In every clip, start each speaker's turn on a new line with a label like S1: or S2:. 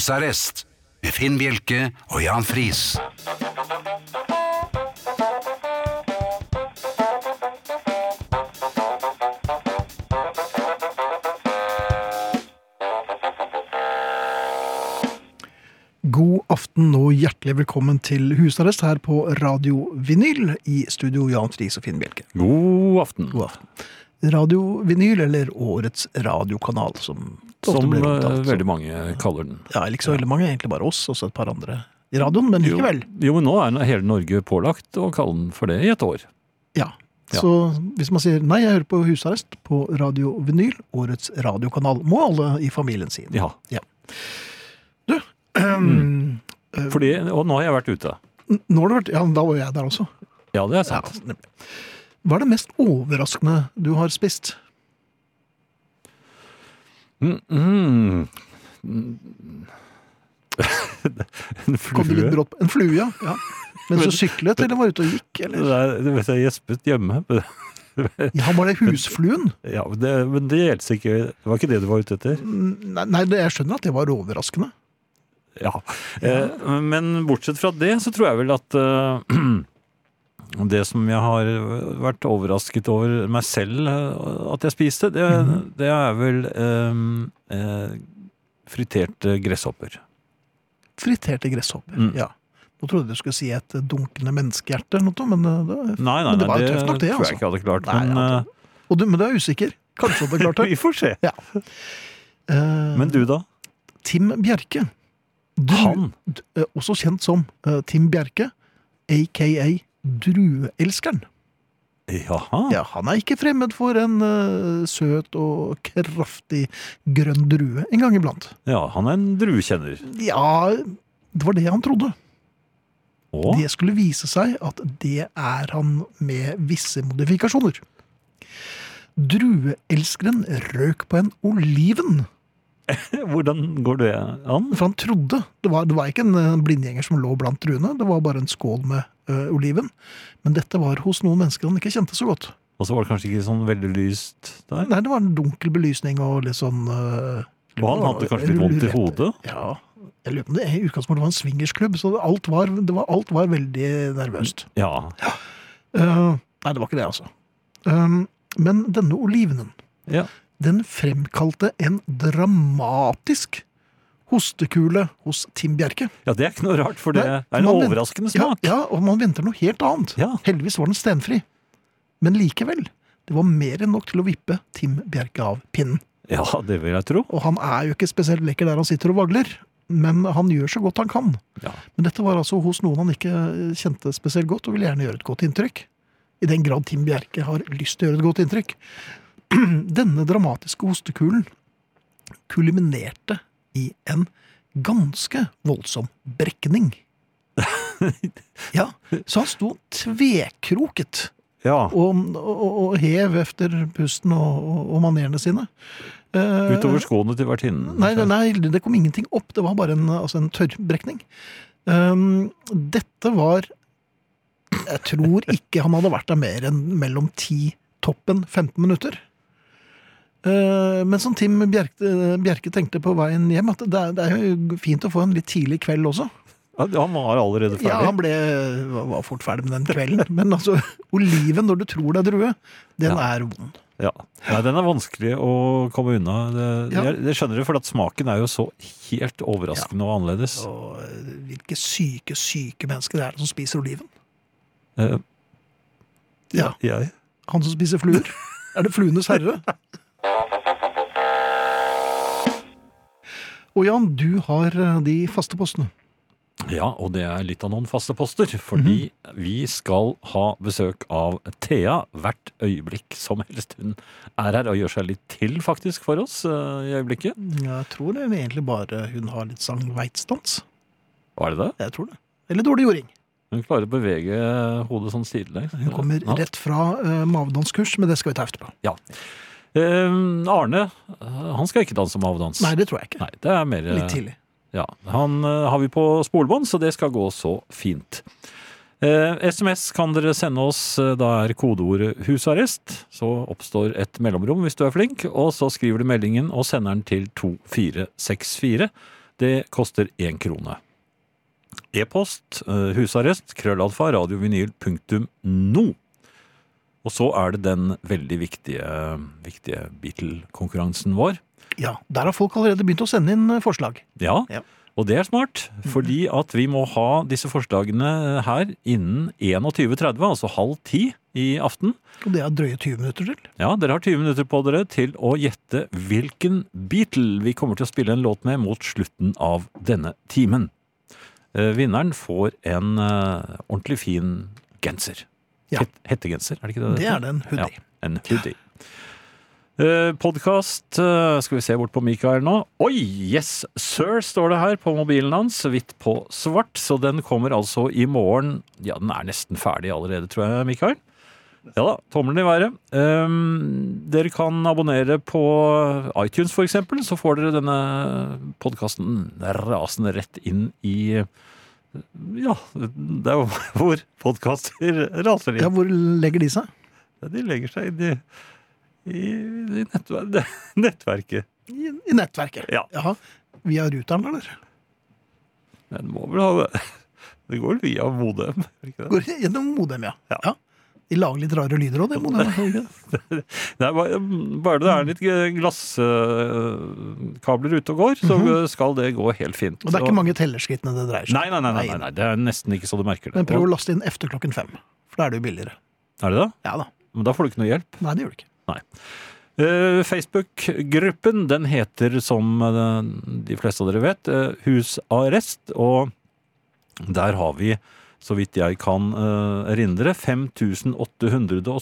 S1: Husarrest med Finn Bjelke og Jan Friis.
S2: God aften og hjertelig velkommen til husarrest her på Radio Vinyl i studio Jan Friis og Finn Bjelke.
S3: God aften.
S2: God aften. Radio Vinyl, eller årets radiokanal, som det ofte
S3: Som
S2: blir
S3: eh,
S2: omtalt.
S3: veldig mange kaller den.
S2: Ja, ikke så veldig mange, egentlig bare oss, og så et par andre i radioen, men
S3: Jo,
S2: likevel.
S3: jo, men nå er hele Norge pålagt å kalle den for det i et år.
S2: Ja.
S3: Ja.
S2: Så hvis man sier nei, jeg hører på husarrest på Radio Vinyl, årets radiokanal, må alle i familien si det.
S3: Ja,
S2: Ehm,
S3: Mm.
S2: eh,
S3: fordi, Og nå har jeg vært ute.
S2: n- Nå har det vært Ja, da var jeg der også.
S3: Ja, det er
S2: Ja,
S3: sant.
S2: nemlig. Hva er det mest overraskende du har spist?
S3: Mm, mm. Mm. en
S2: Kom det litt
S3: flue
S2: brått på? En flue, ja. ja. Mens du syklet eller var ute og gikk?
S3: det
S2: Eller?
S3: er, det vet jeg gjespet hjemme. men-
S2: Ja, var det husfluen?
S3: Ja, men det, men det gjelder ikke. Det var ikke det du var ute etter?
S2: Nei, nei, det- jeg skjønner at det var overraskende.
S3: Ja. Eh, men bortsett fra det, så tror jeg vel at eh, det som jeg har vært overrasket over meg selv eh, at jeg spiste, det,
S2: Mhm.
S3: det er vel eh, eh, friterte gresshopper.
S2: Friterte gresshopper.
S3: Mm.
S2: Ja. Nå trodde jeg du skulle si et eh, dunkende menneskehjerte, eller noe, men eh, det
S3: Nei, nei,
S2: Men det
S3: nei,
S2: var jo
S3: det,
S2: tøft nok, det,
S3: tror
S2: altså.
S3: jeg ikke jeg hadde klart.
S2: Nei,
S3: men
S2: ja, og du, Men du er usikker. Kanskje du hadde klart
S3: eh,
S2: det.
S3: vi får se.
S2: Eh,
S3: Men du, da?
S2: Tim Bjerke. Du,
S3: Han?
S2: d- eh, også kjent som eh, Tim Bjerke, aka Drueelskeren.
S3: Jaha.
S2: Ja, han er ikke fremmed for en eh, søt og kraftig grønn drue en gang iblant.
S3: Ja, han er en druekjenner.
S2: Ja, det var det han trodde.
S3: Å?
S2: Det skulle vise seg at det er han med visse modifikasjoner. Drueelskeren røk på en oliven,
S3: Hvordan går det an?
S2: for han trodde Det var, det var ikke en eh, blindgjenger som lå blant druene, det var bare en skål med eh, oliven. Men dette var hos noen mennesker han ikke kjente så godt.
S3: Og så var det kanskje ikke sånn veldig lyst der?
S2: Nei, det var en dunkel belysning og litt sånn eh,
S3: Og han hadde kanskje litt vondt i
S2: rett-
S3: hodet?
S2: Ja. Jeg lurer på om det i utgangspunktet var en swingersklubb, så alt var, det var, alt var veldig nervøst.
S3: Ja.
S2: Eh, nei, det var ikke det, altså. Um, men denne olivenen,
S3: ja.
S2: den fremkalte en dramatisk hostekule hos Tim Bjerke.
S3: Ja, det er ikke noe rart, for det
S2: Nei,
S3: er en
S2: man vent-
S3: overraskende
S2: Ja,
S3: smak.
S2: ja, og man venter noe helt annet.
S3: Ja.
S2: Heldigvis var den stenfri. Men likevel, det var mer enn nok til å vippe Tim Bjerke av pinnen.
S3: Ja, det vil jeg tro.
S2: Og han er jo ikke spesielt lekker der han sitter og vagler, men han gjør så godt han kan.
S3: Ja.
S2: Men dette var altså hos noen han ikke kjente spesielt godt, og ville gjerne gjøre et godt inntrykk. I den grad Tim Bjerke har lyst til å gjøre et godt inntrykk. Denne dramatiske hostekulen kulminerte i en ganske voldsom brekning. Ja, så han sto tvekroket
S3: ja.
S2: og, og, og hev efter pusten og, og, og manerene sine. Eh,
S3: Utover skoene til vertinnen.
S2: Nei, nei, nei, det kom ingenting opp. Det var bare en, altså en tørrbrekning. Ehm, dette var Jeg tror ikke han hadde vært der mer enn mellom 10, toppen 15 minutter. Eh, men som Tim Bjerke, eh, Bjerke tenkte på veien hjem, at det er, det er jo fint å få en litt tidlig kveld også.
S3: Ja, Han var allerede ferdig.
S2: Ja, han ble, var fort ferdig med den kvelden. Men altså, oliven når du tror det er drue, den
S3: Ja.
S2: er vond.
S3: Ja. Nei, den er vanskelig å komme unna. Det,
S2: Ja.
S3: jeg, jeg skjønner det, for at smaken er jo så helt overraskende og annerledes.
S2: Og eh, hvilke syke, syke mennesker det er som spiser oliven.
S3: Eh,
S2: Ja.
S3: jeg.
S2: Han som spiser fluer? Er det fluenes herre? Og Jan, du har eh, de faste postene.
S3: ja, og det er litt av noen faste poster, fordi
S2: Mhm.
S3: vi skal ha besøk av Thea hvert øyeblikk som helst. Hun er her og gjør seg litt til, faktisk, for oss eh, i øyeblikket.
S2: Jeg tror det egentlig bare hun har litt sangveitsdans.
S3: Var det det?
S2: Jeg tror det. Eller dårlig jording.
S3: Hun klarer å bevege hodet sånn sidelengs.
S2: Hun kommer
S3: Ja.
S2: rett fra uh, mavedanskurs, men det skal vi ta etterpå.
S3: Eh, Arne, eh, han skal ikke danse mavedans.
S2: Nei, det tror jeg ikke.
S3: Nei, det er mer eh,
S2: Litt tidlig.
S3: Ja. Han eh, har vi på spolebånd, så det skal gå så fint. Eh, SMS kan dere sende oss. eh, Da er kodeordet 'husarrest'. Så oppstår et mellomrom hvis du er flink, og så skriver du meldingen og sender den til 2464. Det koster én krone. E-post eh, husarrest krøllalfa radiovinyl.no. Og så er det den veldig viktige, viktige Beatle-konkurransen vår.
S2: Ja, Der har folk allerede begynt å sende inn eh, forslag.
S3: Ja,
S2: Ja.
S3: og det er smart, fordi at vi må ha disse forslagene her innen 21.30, altså halv ti i aften.
S2: Og det er drøye 20 minutter til.
S3: Ja, dere har 20 minutter på dere til å gjette hvilken Beatle vi kommer til å spille en låt med mot slutten av denne timen. Eh, Vinneren får en eh, ordentlig fin genser.
S2: Ja.
S3: Het, hettegenser, er det ikke det?
S2: Det er det en hoodie.
S3: Ja, en hoodie. Eh, Podkast eh, Skal vi se bort på Mikael nå. Oi! Yes, sir, står det her på mobilen hans. Hvitt på svart. Så den kommer altså i morgen. Ja, den er nesten ferdig allerede, tror jeg, Mikael. Ja da, tommelen i været. Ehm, dere kan abonnere på iTunes, for eksempel. Så får dere denne podkasten rasende rett inn i Ja, det er jo hvor podkaster raser inn.
S2: Ja, Hvor legger de seg?
S3: Ja, de legger seg inn i, i, i nettver nettverket.
S2: I, i nettverket.
S3: Ja.
S2: Jaha. Via ruteren, eller?
S3: Men må vel ha det. Det går vel via modem. gjør det ikke det?
S2: Går gjennom modem, ja.
S3: Ja.
S2: De lager litt rare lyder òg, det modemet.
S3: Det er bare, bare det er
S2: Mm.
S3: litt glasskabler ute og går, så skal det gå helt fint.
S2: Mhm. Og det er
S3: Og-
S2: ikke mange tellerskrittene det dreier seg om.
S3: Nei, nei, nei, nei, nei, nei. Det er nesten ikke så du merker det.
S2: Men prøv å laste inn efter klokken fem, for da er det jo billigere.
S3: Og- Er det det?
S2: Ja da.
S3: Men da får du ikke noe hjelp.
S2: Nei, det gjør det ikke.
S3: Eh, Facebook-gruppen den heter, som eh, de fleste av dere vet, eh, Husarrest. Og der har vi, så vidt jeg kan eh, erindre,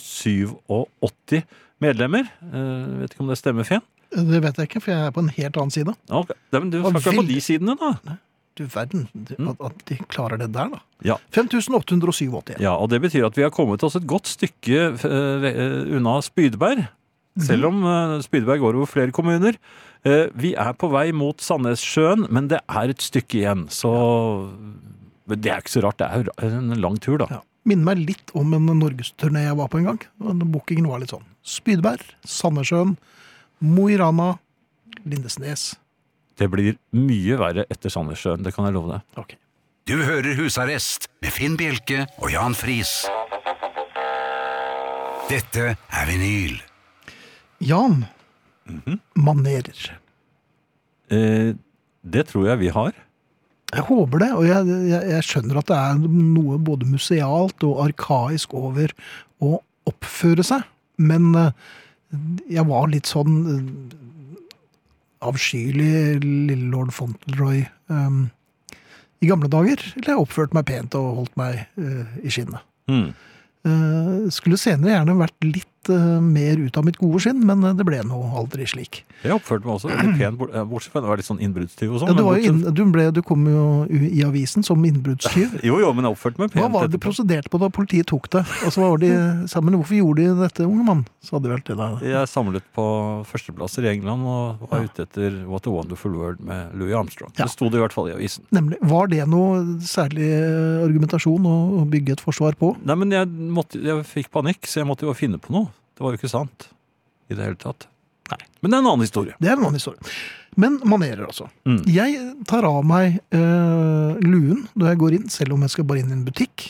S3: 5887 medlemmer. Eh, vet ikke om det stemmer, Finn?
S2: Det vet jeg ikke, for jeg er på en helt annen side.
S3: Ok, Nei, men Du
S2: Og
S3: skal ikke være
S2: vil-
S3: på de sidene, da.
S2: Du verden, du-
S3: Mm.
S2: at, at de klarer det der, da.
S3: Ja.
S2: 5887.
S3: Ja, Og det betyr at vi har kommet oss et godt stykke eh, eh, unna Spydberg. Selv om eh, Spydberg går over flere kommuner. Eh, Vi er på vei mot Sandnessjøen, men det er et stykke igjen. Så Men det er ikke så rart. Det er jo ra- en lang tur, da.
S2: Ja. Minner meg litt om en norgesturné jeg var på en gang. og Bookingen var litt sånn. Spydberg, Sandnessjøen, Mo i Rana, Lindesnes.
S3: Det blir mye verre etter Sandnessjøen, det kan jeg love deg.
S1: Du hører Husarrest med Finn Bjelke og Jan Friis. Dette er vinyl.
S2: Jan.
S3: Mhm.
S2: Manerer.
S3: Eh, Det tror jeg vi har.
S2: Jeg håper det, og jeg, jeg, jeg skjønner at det er noe både musealt og arkaisk over å oppføre seg, men eh, jeg var litt sånn eh, avskyelig lille lord Fauntleroy eh, i gamle dager. Eller jeg oppførte meg pent og holdt meg eh, i skinnet.
S3: Hmm.
S2: Eh, skulle senere gjerne vært litt eh, mer ut av mitt gode skinn, men eh, det ble nå aldri slik.
S3: Jeg oppførte meg også veldig pent, bort- eh, bortsett fra at jeg var litt sånn innbruddstyv og sånn.
S2: Ja, du,
S3: men
S2: var jo
S3: bortsett-
S2: inn, du, ble, du kom jo i avisen som innbruddstyv.
S3: Jo, jo, men jeg oppførte meg pent.
S2: Hva var det de
S3: etterpå.
S2: prosederte på da politiet tok det? Og så var de sammen Hvorfor gjorde de dette, unge mann? Så hadde de vært det der.
S3: Jeg samlet på førsteplasser i England og var ute etter What a Wonderful World med Louis Armstrong.
S2: Ja.
S3: Det sto det i hvert fall i avisen.
S2: Nemlig, Var det noe særlig argumentasjon å å bygge et forsvar på?
S3: Nei, men jeg, måtte, jeg fikk panikk, så jeg måtte jo finne på noe. Det var jo ikke sant i det hele tatt. Nei. Men det er en annen historie.
S2: Det er en annen historie. Men manerer, altså.
S3: Mm.
S2: Jeg tar av meg eh, luen når jeg går inn, selv om jeg skal bare inn i en butikk.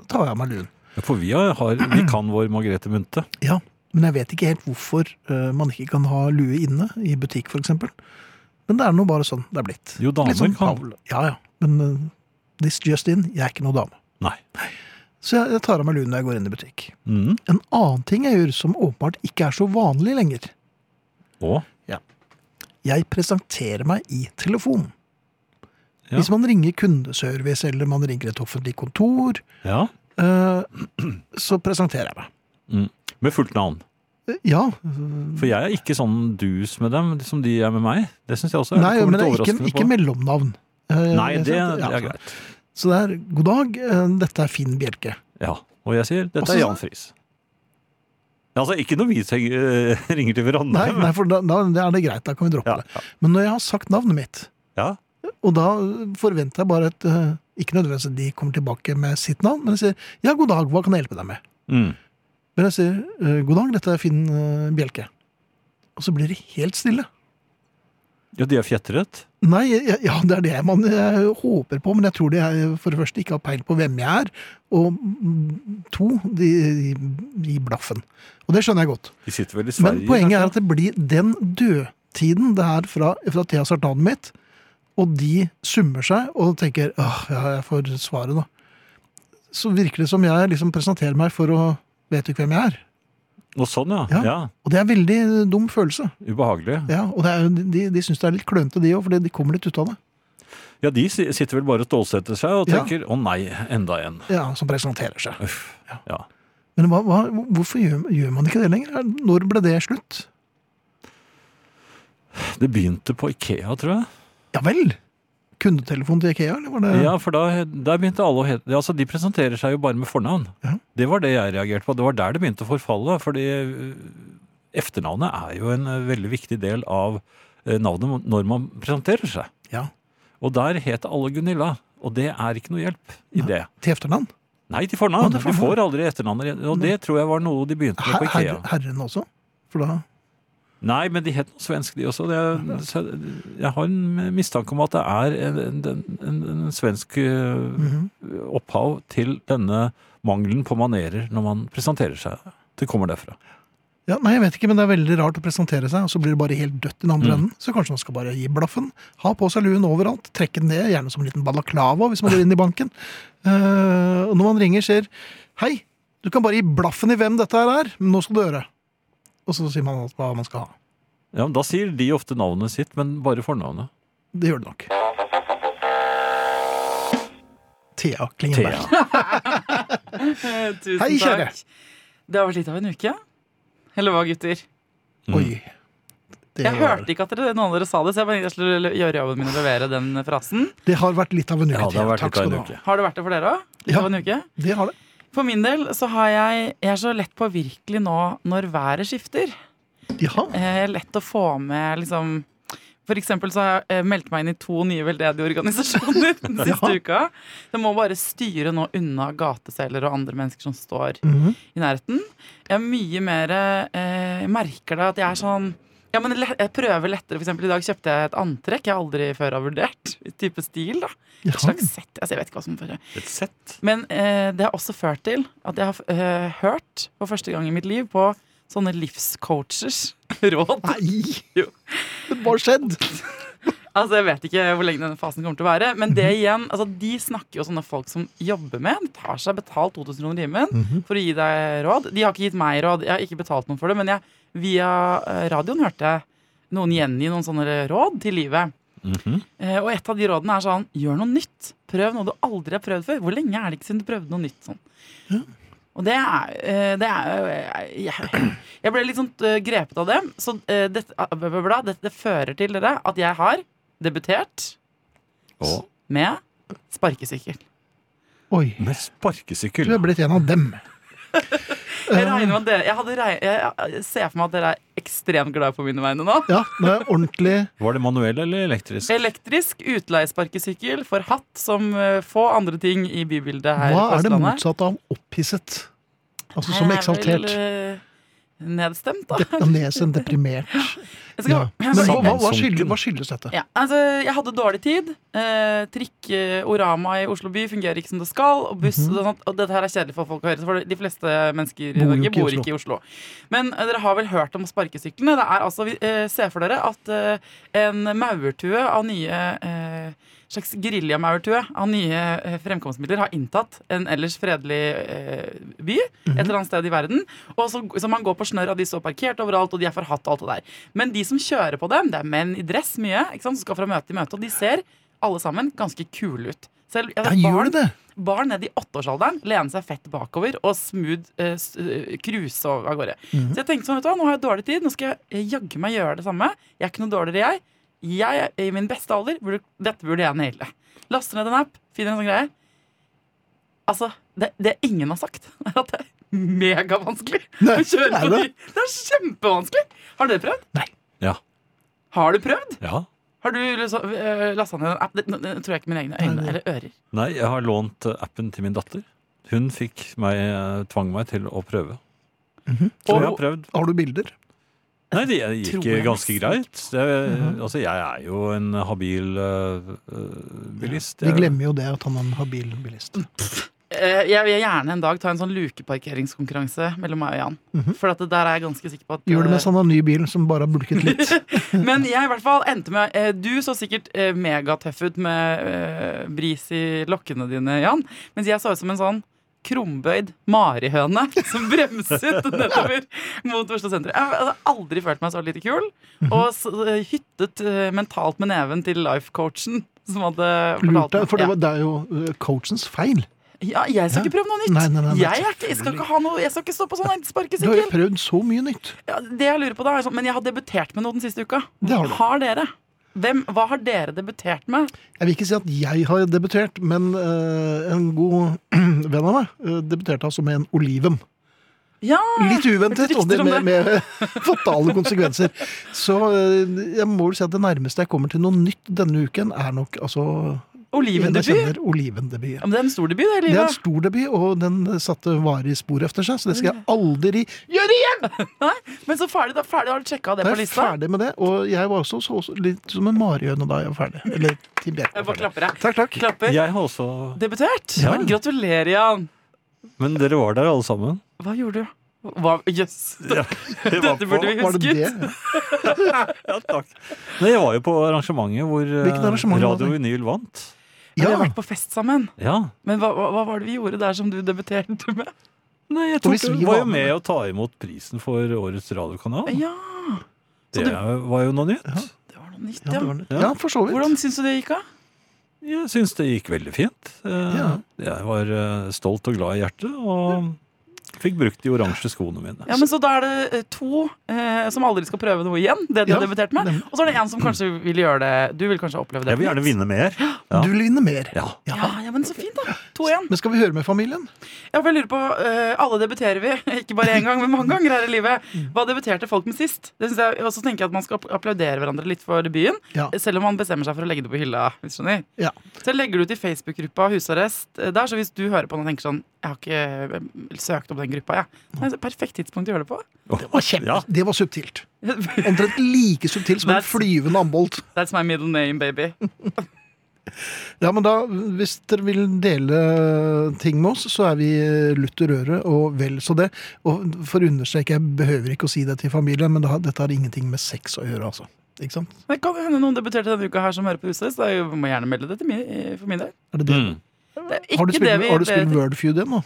S2: Da tar jeg av meg luen.
S3: For vi, har, vi kan vår Margrethe Munthe.
S2: Ja, Men jeg vet ikke helt hvorfor eh, man ikke kan ha lue inne i butikk, f.eks. Men det er nå bare sånn det er blitt.
S3: Jo, damer
S2: Litt sånn
S3: kan.
S2: Paul- Ja, ja. Men eh, this just in, jeg er ikke noe dame.
S3: Nei.
S2: Så jeg, jeg tar av meg luen når jeg går inn i butikk.
S3: Mm.
S2: En annen ting jeg gjør som åpenbart ikke er så vanlig lenger.
S3: Og
S2: Jeg presenterer meg i telefon.
S3: Ja.
S2: Hvis man ringer kundeservice eller man ringer et offentlig kontor,
S3: ja.
S2: eh, så presenterer jeg meg.
S3: med fullt navn.
S2: Eh, Ja.
S3: For jeg er ikke sånn dus med dem som de er med meg. Det syns jeg også.
S2: Nei,
S3: kommer
S2: men det
S3: litt
S2: er ikke,
S3: overraskende
S2: ikke
S3: på.
S2: mellomnavn. Eh,
S3: Nei,
S2: jeg
S3: det,
S2: sier at-
S3: det
S2: ja,
S3: er
S2: så-
S3: greit.
S2: Så det er 'god dag, eh, dette er Finn Bjelke'.
S3: Ja, og jeg sier dette
S2: Også- sånn.
S3: er Jan Friis. Ja, Altså, ikke når vi trenger- ringer til hverandre.
S2: Nei, nei for da, da er det greit, da kan vi droppe
S3: Ja,
S2: det. Men når jeg har sagt navnet mitt,
S3: ja.
S2: Og da forventer jeg bare at eh, ikke nødvendigvis at de kommer tilbake med sitt navn, men jeg sier 'ja, god dag, hva kan jeg hjelpe deg med?'
S3: Mm.
S2: Men jeg sier eh, 'god dag, dette er Finn eh, Bjelke'. Og så blir det helt stille.
S3: Ja, de er fjetret.
S2: Nei, ja, ja, det er det man eh, håper på, men jeg tror de er- for det første ikke har peil på hvem jeg er, og mm, to, de, de gir blaffen. Og det skjønner jeg godt.
S3: De sitter vel i Sverige.
S2: Men poenget er
S3: kanskje?
S2: at det blir den dødtiden det er fra, fra Thea Sartanen mitt, og de summer seg og tenker åh, ja, jeg får svaret nå. Så virker det som jeg liksom presenterer meg for å vet du ikke hvem jeg er.
S3: Og sånn, ja.
S2: Ja.
S3: ja.
S2: Og det er en veldig dum følelse.
S3: Ubehagelig.
S2: Ja, og det er, jo- de, de syns det er litt klønete, de òg, for de kommer litt ut av det.
S3: Ja, de si- sitter vel bare og stålsetter seg og
S2: Ja.
S3: tenker 'å nei, enda en'.
S2: Ja, Som presenterer seg.
S3: Uff.
S2: Ja.
S3: Ja.
S2: Men hva, hva, hvorfor gjør, gjør man ikke det lenger? Er- Når ble det slutt?
S3: Det begynte på Ikea, tror jeg.
S2: Ja vel! Kundetelefon til Ikea, eller var det
S3: Ja, for da, der begynte alle å hete Altså, de presenterer seg jo bare med fornavn.
S2: Ja.
S3: Det var det jeg reagerte på. Det var der det begynte å forfalle. Fordi øh, efternavnet er jo en øh, veldig viktig del av øh, navnet når man presenterer seg.
S2: Ja.
S3: Og der het alle Gunilla. Og det er ikke noe hjelp i
S2: Nei.
S3: det.
S2: til etternavn?
S3: Nei, til
S2: Å,
S3: fornavn.
S2: til
S3: Du får aldri etternavn. Og det tror jeg var noe de begynte med
S2: Her,
S3: på Ikea.
S2: her, herren også? For da
S3: Nei, men de het noe svensk, de også. Det er, så jeg har en mistanke om at det er en, en, en, en svensk øh,
S2: mhm.
S3: opphav til denne mangelen på manerer når man presenterer seg. Det kommer derfra.
S2: Ja, nei, jeg vet ikke, men det er veldig rart å presentere seg, og så blir det bare helt dødt i den andre
S3: Mm.
S2: enden. Så kanskje man skal bare gi blaffen, ha på seg luen overalt, trekke den ned, gjerne som en liten balaklava hvis man går inn i banken. Eh, og når man ringer, sier Hei, du kan bare gi blaffen i hvem dette her er, men nå skal du høre. Og så sier man alt hva man skal ha.
S3: Ja, men Da sier de ofte navnet sitt, men bare fornavnet.
S2: Det gjør det nok. Thea Klingenberg.
S3: Thea.
S4: Eh, Tusen
S2: Hei, kjære.
S4: takk. Det har vært litt av en uke. Eller hva, gutter?
S3: Mm.
S2: Oi. Det,
S4: jeg
S2: var-
S4: hørte ikke at dere, noen av dere sa det, så jeg bare tenkte jeg skulle gjøre jobben min og levere den frasen.
S2: det har vært litt av en uke,
S3: Ja, det har
S2: Thea.
S3: vært
S2: Takk
S3: litt av
S2: skal du
S3: en
S2: ha.
S3: uke.
S4: Har det vært det for dere òg?
S2: Ja.
S4: En uke?
S2: Det har det.
S4: For min del så har jeg Jeg er så lett påvirkelig nå når været skifter.
S2: Ja.
S4: Eh, lett å få med liksom for eksempel så har jeg eh, meldt meg inn i to nye veldedige organisasjoner den siste
S2: Ja.
S4: uka. Jeg må bare styre nå unna gateselgere og andre mennesker som står
S2: Mhm.
S4: i nærheten. Jeg er mye mer eh, jeg merker det at jeg er sånn ja, men le- jeg prøver lettere. For eksempel, I dag kjøpte jeg et antrekk jeg aldri før har vurdert. Type stil, da.
S2: ja.
S4: Et slags sett. Altså, jeg vet ikke hva som fører.
S3: Et sett.
S4: Men eh, det har også ført til at jeg har eh, hørt for første gang i mitt liv på sånne livscoachers råd.
S2: Nei!
S4: Jo.
S2: Men hva har skjedd?
S4: Altså, Jeg vet ikke hvor lenge denne fasen kommer til å være. Men
S2: Mhm.
S4: det igjen, altså, de snakker jo sånne folk som jobber med. De tar seg betalt 2000 kroner timen
S2: Mhm.
S4: for å gi deg råd. De har ikke gitt meg råd. Jeg har ikke betalt noen for det. Men jeg, via eh, radioen hørte jeg noen gjengi noen sånne råd til livet.
S2: Mhm.
S4: Eh, Og et av de rådene er sånn Gjør noe nytt. Prøv noe du aldri har prøvd før. Hvor lenge er det ikke siden du prøvde noe nytt? sånn
S2: Ja.
S4: og det er, eh, det er eh, jeg, jeg ble litt sånn eh, grepet av det. Så eh, det, ah, bla, bla, bla, det, det fører til dere at jeg har debutert
S3: Og
S4: med sparkesykkel.
S2: Oi.
S3: med
S2: Du er
S3: sparkesykkel.
S2: blitt en av dem.
S4: Jeg regner med at dere Jeg, hadde reg- jeg, jeg ser for meg at dere er ekstremt glade på mine vegne nå.
S2: Eh, Ja, det er ordentlig
S3: Var det manuell eller elektrisk?
S4: Elektrisk utleiesparkesykkel for hatt som eh, få andre ting i bybildet her
S2: Hva
S4: på
S2: er det
S4: Østlandet.
S2: motsatte av opphisset? Altså som eksaltert.
S4: Jeg er vel, eh, Nedstemt, da.
S2: Nesen, deprimert.
S4: Jeg skal,
S2: Ja. Men hva, hva, hva, skyldes,
S3: Sammensunken.
S2: hva skyldes dette?
S4: Ja, altså, jeg hadde dårlig tid. Eh, trikk eh, Orama i Oslo by fungerer ikke som det skal. Og buss og sånt. Og dette her er kjedelig for folk å høre. så For de fleste mennesker i
S2: Mhm. Bor jo
S4: Norge
S2: ikke i
S4: bor
S2: Oslo.
S4: ikke i Oslo. Men eh, dere har vel hørt om sparkesyklene? Det er altså, vi, eh, Se for dere at eh, en maurtue av nye eh, slags Griljamaurtue av nye eh, fremkomstmidler har inntatt en ellers fredelig eh, by et eller annet sted i verden. Og så, så man går på snørr, og de står parkert overalt, og de er forhatt og alt det der. Men de som kjører på dem, det er menn i dress mye, ikke sant, som skal fra møte til møte, og de ser alle sammen ganske kule ut. Selv jeg
S2: Ja,
S4: vet,
S2: gjør
S4: barn,
S2: det det?
S4: barn ned i åtteårsalderen lener seg fett bakover og smooth eh, s- eh, cruise og av gårde.
S2: Mhm.
S4: Så jeg tenkte sånn, vet du hva, nå har jeg dårlig tid, nå skal jeg eh, jaggu meg gjøre det samme. Jeg er ikke noe dårligere, jeg. Jeg i min beste alder, burde, dette burde jeg naile. Laster ned en app, finner en sånn greie. Altså, det, det ingen har sagt, er at det er megavanskelig å
S2: Nei,
S4: kjøre
S2: er
S4: på
S2: det?
S4: de. Det er kjempevanskelig. Har dere prøvd?
S2: Nei.
S3: Ja.
S4: Har du prøvd?
S3: Ja.
S4: Har du liksom, eh, lasta ned en app? Det, nå- nå tror jeg ikke mine egne øyne
S2: Nei,
S4: eller ører.
S3: Nei, jeg har lånt eh, appen til min datter. Hun
S2: Mhm.
S3: fikk meg, eh, tvang meg til å prøve. Så jeg har
S4: Og,
S3: prøvd.
S2: Har du bilder?
S3: Nei, det gikk
S4: Tror jeg
S3: ganske
S4: nesten
S3: greit. Det, Altså, jeg er jo en habil øh, øh, bilist.
S2: Vi
S3: Jeg-
S2: glemmer jo det at han er en habil bilist.
S4: Mm. Eh, Jeg vil gjerne en dag ta en sånn lukeparkeringskonkurranse mellom meg og Jan.
S2: Mhm.
S4: For at det der er jeg ganske sikker på at
S2: Gjør det mens han har ny bil som bare har bulket litt.
S4: Men jeg i hvert fall endte med eh, Du så sikkert eh, megatøff ut med eh, bris i lokkene dine, Jan. Mens jeg så ut som en sånn krumbøyd marihøne som bremset nedover mot Oslo sentrum. Jeg hadde aldri følt meg så lite kul.
S2: Mhm.
S4: Og s eh, hyttet eh, mentalt med neven til life-coachen som hadde
S2: Lurt
S4: fortalt
S2: deg, for det,
S4: ja.
S2: var, det er jo eh, coachens feil.
S4: ja, jeg skal
S2: Ja.
S4: ikke prøve noe nytt.
S2: Nei, nei, nei, nei,
S4: jeg, er ikke, jeg skal ikke ha noe Jeg skal ikke stå på sånn
S2: Du har
S4: sparkesykkel.
S2: jo prøvd så mye nytt.
S4: Ja, det jeg lurer på da er sånn, Men jeg har debutert med noe den siste uka.
S2: Det har du.
S4: dere? Hvem, hva har dere debutert med?
S2: Jeg vil ikke si at jeg har debutert, men eh, en god venn av meg eh, debuterte altså med en oliven.
S4: Ja!
S2: Litt uventet,
S4: hørte
S2: og det med,
S4: rykter om
S2: med fatale konsekvenser. Så eh, jeg må vel si at det nærmeste jeg kommer til noe nytt denne uken, er nok altså en jeg
S4: Olivendebut?
S2: kjenner, olivendebut.
S4: Ja, men det er en stor debut, det, i
S2: Det er en
S4: livet.
S2: stor debut, og den satte varige spor efter seg, så det skal
S4: Mm.
S2: jeg aldri gjøre igjen!
S4: Men så ferdig, da ferdig har du sjekka det
S2: Da
S4: på
S2: er jeg
S4: lista?
S2: ferdig med det, og jeg var også så, så litt som en marihøne da jeg var ferdig. Eller Tim Bjerke.
S4: Jeg
S2: var
S4: bare
S2: ferdig.
S4: klapper, jeg.
S2: Takk, takk.
S4: Klapper.
S3: Jeg har også
S4: Debutert?
S3: Ja.
S4: Men Gratulerer, Jan.
S3: Men dere var der alle sammen.
S4: Hva gjorde du? Hva- Jøss.
S3: Jeg var
S4: Dette
S3: på-
S4: burde vi
S2: Var det
S4: husket.
S2: det?
S3: Ja, takk. Nei, jeg var jo på arrangementet hvor øh,
S2: Hvilket arrangement var
S3: Radio
S2: det?
S3: Vinyl vant.
S4: Vi
S2: Ja,
S4: har vært på fest sammen.
S3: Ja.
S4: Men hva, hva, hva var det vi gjorde der som du debuterte med?
S3: Nei, jeg
S2: Og
S3: tok,
S2: hvis vi
S3: var
S2: var
S3: jo
S2: med-
S3: med å ta imot prisen for årets radiokanal.
S4: Ja, så
S3: Det var jo noe nytt.
S4: det var noe nytt,
S2: ja,
S4: ja.
S2: det var det. ja for så vidt.
S4: Hvordan syns du det gikk av?
S3: Jeg syns det gikk veldig fint. Eh,
S2: Ja.
S3: Jeg var eh, stolt og glad i hjertet, og fikk brukt de oransje skoene mine.
S4: Ja, men Så da er det eh, to eh, som aldri skal prøve noe igjen. Det de
S2: Ja,
S4: har debutert med
S2: nemlig.
S4: Og så er det en som kanskje vil gjøre det. Du vil kanskje oppleve det.
S3: Jeg vil gjerne
S4: på nytt.
S3: vinne mer. Ja.
S2: Du vil vinne mer.
S3: Ja.
S4: Ja, ja, men så fint, da. To igjen.
S2: Men skal vi høre med familien?
S4: Ja, for jeg lurer på, eh, Alle debuterer vi. Ikke bare én gang, men mange ganger her i livet. Hva debuterte folk med sist? Det synes jeg, Og så tenker jeg at man skal applaudere hverandre litt for debuten.
S2: Ja.
S4: Selv om man bestemmer seg for å legge det på hylla. hvis du skjønner
S2: Ja.
S4: Så jeg legger det ut i Facebook-gruppa Husarrest. eh, der, Så hvis du hører på den og tenker sånn Jeg har ikke eh, søkt opp den gruppa, jeg. Nei, så Perfekt tidspunkt å gjøre det på.
S3: Det var Ja.
S2: Det var subtilt. Omtrent like subtilt som en
S4: That's-
S2: flyvende ambolt.
S4: That's my middle name, baby.
S2: Ja, men da, Hvis dere vil dele ting med oss, så er vi lutter øre og vel så det. Og for å understreke, jeg behøver ikke å si det til familien, men det har, dette har ingenting med sex å gjøre. altså. Ikke sant?
S4: Det kan hende noen debuterte denne uka her som hører på Huset, så jeg må gjerne melde det til min, eh, for min del.
S2: Er det det?
S3: Mm.
S4: Det er ikke
S2: Har du
S4: det
S2: spilt,
S4: vi
S2: har du spilt
S4: ber-
S2: Wordfeud igjen nå?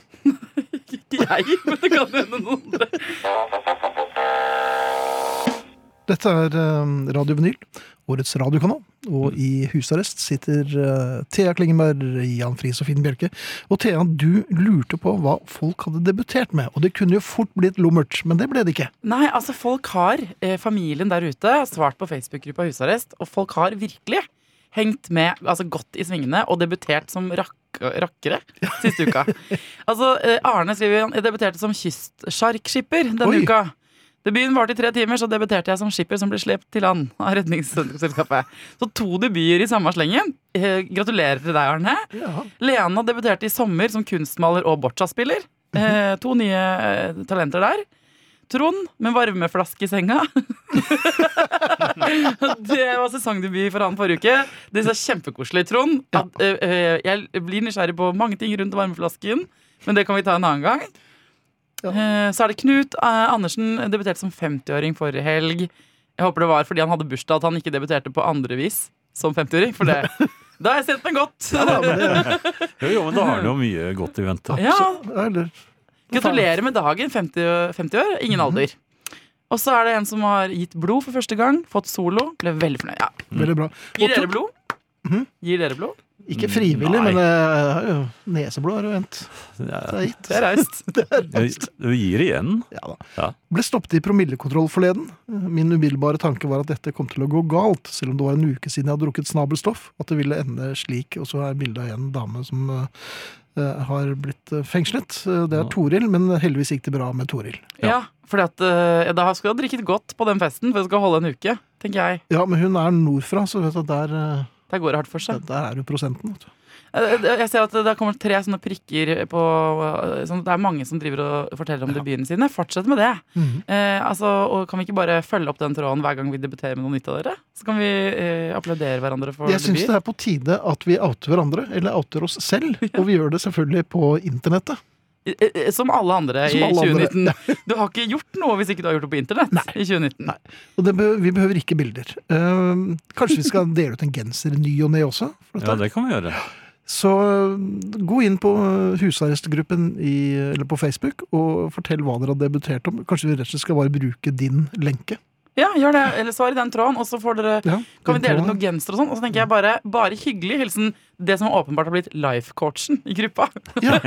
S4: Ikke jeg, men det kan hende noen andre.
S2: Dette er eh, Radio Vinyl, årets radiokanal. Og i husarrest sitter eh, Thea Klingenberg, Jan Friis og Finn Bjelke. Og Thea, du lurte på hva folk hadde debutert med. Og det kunne jo fort blitt lummert, men det ble det ikke.
S4: Nei, altså folk har, eh, familien der ute, har svart på Facebook-gruppa Husarrest, og folk har virkelig hengt med, altså godt i svingene, og debutert som rakk rakkere siste uka. altså, eh, Arne skriver han jeg debuterte som kystsjarkskipper denne
S2: Oi.
S4: uka. Debuten varte i tre timer, så debuterte jeg som skipper som ble slept til land av Redningsselskapet. Så to debuter i samme slengen. Eh, gratulerer til deg, Arne.
S2: Ja.
S4: Lena debuterte i sommer som kunstmaler og boccia-spiller. Eh, to nye eh, talenter der. Trond med varmeflaske i senga. det var sesongdebut for han forrige uke. Det er kjempekoselig. Trond, at, eh, eh, jeg blir nysgjerrig på mange ting rundt varmeflasken, men det kan vi ta en annen gang.
S2: Ja.
S4: Eh, så er det Knut eh, Andersen, debuterte som 50-åring forrige helg. Jeg håper det var fordi han hadde bursdag at han ikke debuterte på andre vis som 50-åring. For det, da har jeg sett meg godt.
S2: Ja, men det,
S3: Jo, jo, men da har det jo mye godt i vente.
S4: Ja,
S2: ja, eller,
S4: Gratulerer med dagen, 50, 50 år,
S2: Mhm.
S4: ingen alder. Og så er det en som har gitt blod for første gang, fått solo. Ble veldig fornøyd. Ja.
S2: veldig bra.
S4: Gir dere blod?
S2: Mhm.
S4: Gir dere blod?
S2: Ikke frivillig,
S3: Nei.
S2: men eh, jeg har jo neseblod har jo hendt. Det
S3: Ja,
S2: er gitt.
S4: Det er raust.
S3: Du gir igjen.
S2: Ja da.
S3: Ja.
S2: Ble stoppet i promillekontroll forleden. Min umiddelbare tanke var at dette kom til å gå galt, selv om det var en uke siden jeg hadde drukket snabelstoff. At det ville ende slik. Og så er bildet av en dame som eh, har blitt eh, fengslet. Eh, Det
S3: Ja.
S2: er Toril, men heldigvis gikk det bra med Toril.
S3: Ja.
S4: Ja, fordi at eh, da skulle jeg ha drikket godt på den festen, for det skal holde en uke, tenker jeg.
S2: Ja, men hun er nordfra, så vet du, at der, eh,
S4: Der går det hardt for seg.
S2: der er jo prosenten. Vet du.
S4: Eh, Jeg ser at det kommer tre sånne prikker på eh, sånn, Det er mange som driver og forteller om debutene sine. Fortsett med det.
S2: Mhm.
S4: Eh, altså, og kan vi ikke bare følge opp den tråden hver gang vi debuterer med noe nytt av dere? Så kan vi eh, applaudere hverandre for
S2: Mm. Jeg syns det
S4: debut.
S2: er på tide at vi outer hverandre, eller outer oss selv. Og vi gjør det selvfølgelig på internettet.
S4: Eh, eh, Som alle andre
S2: Som alle
S4: i
S2: andre.
S4: 2019. Du har ikke gjort noe hvis ikke du har gjort det på internett i 2019.
S2: Nei. Og det be vi behøver ikke bilder. Ehm, kanskje vi skal dele ut en genser i ny og ne også? For dette.
S3: Ja, det kan vi gjøre.
S2: Så eh, gå inn på eh, husarrestgruppen i, eh, eller på Facebook og fortell hva dere har debutert om. Kanskje vi rett og slett skal bare bruke din lenke.
S4: Ja, gjør det. Eller svar i den tråden, og så får dere
S2: Ja,
S4: Kan vi
S2: den
S4: dele ut
S2: tråden.
S4: noen genser og sånn? Og så tenker jeg bare, bare hyggelig hilsen det som åpenbart har blitt life-coachen i gruppa.
S2: Ja,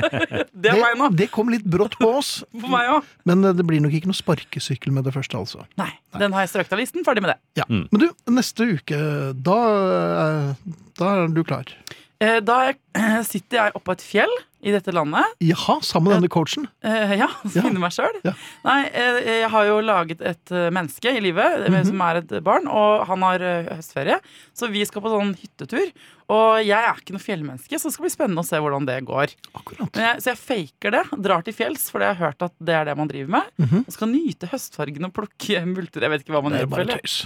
S4: Det er meg nå.
S2: det, det kom litt brått på oss,
S4: For meg òg.
S2: men eh, det blir nok ikke noe sparkesykkel med det første, altså.
S4: Nei, den har jeg strøkt av listen. Ferdig med det.
S2: Ja.
S3: Mm.
S2: Men du, neste uke, da, eh, da er du klar.
S4: Eh, Da er- eh, sitter jeg oppå et fjell i dette landet.
S2: Jaha, sammen med denne coachen.
S4: Eh, Ja,
S2: Ja.
S4: finne meg sjøl.
S2: Ja.
S4: Nei, eh, jeg har jo laget et eh, menneske i livet eh,
S2: Mhm.
S4: som er et barn, og han har eh, høstferie. Så vi skal på sånn hyttetur. Og jeg er ikke noe fjellmenneske, så det skal bli spennende å se hvordan det går.
S2: Akkurat.
S4: Men jeg, så jeg faker det, drar til fjells, for jeg har hørt at det er det man driver med.
S2: Mhm.
S4: Og skal nyte høstfargen og plukke multer. Jeg vet ikke hva man
S2: Det
S4: gjør.
S2: er
S4: på
S2: bare
S4: fjellet.
S2: tøys.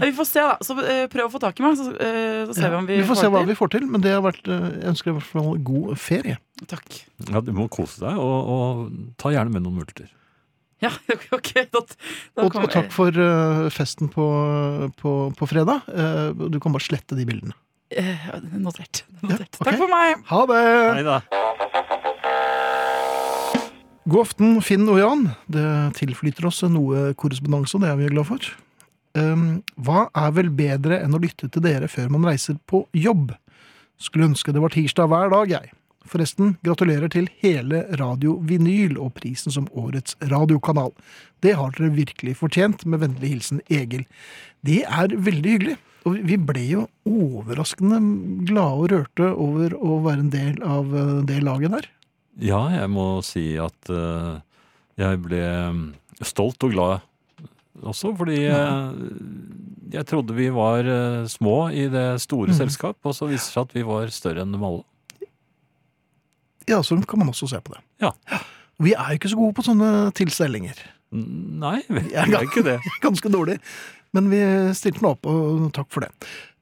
S4: Nei, Vi får se, da. Så eh, prøv å få tak i meg, så, eh, så ser vi om vi,
S2: Ja, får se hva
S4: til.
S2: vi får til, men det har vært, eh, jeg ønsker i hvert fall god ferie.
S4: Takk.
S3: Ja, du må kose deg, og, og ta gjerne med noen multer.
S4: Ja, ok. Da, da
S2: Og,
S4: kommer-
S2: og takk for eh, festen på, på, på fredag. Eh, Du kan bare slette de bildene.
S4: eh, Notert. notert.
S2: ok.
S4: Takk for meg.
S2: Ha det!
S3: Neida.
S2: God aften, Finn og Jan. Det tilflyter oss noe korrespondanse, og det er vi glad for. Um, hva er vel bedre enn å lytte til dere før man reiser på jobb? Skulle ønske det var tirsdag hver dag, jeg. Forresten, gratulerer til hele Radio Vinyl og prisen som årets radiokanal. Det har dere virkelig fortjent, med vennlig hilsen Egil. Det er veldig hyggelig. Og vi ble jo overraskende glade og rørte over å være en del av eh, det laget der.
S3: Ja, jeg må si at eh, jeg ble mm, stolt og glad også, fordi eh, jeg trodde vi var eh, små i det store selskap, og så viser det seg at vi var større enn dem alle.
S2: Ja, sånn kan man også se på det.
S3: Ja.
S2: Vi er jo ikke så gode på sånne tilstelninger.
S3: N- Nei, vi
S2: Ja,
S3: er ikke det.
S2: Ganske dårlig. Men vi stilte nå opp, og takk for det.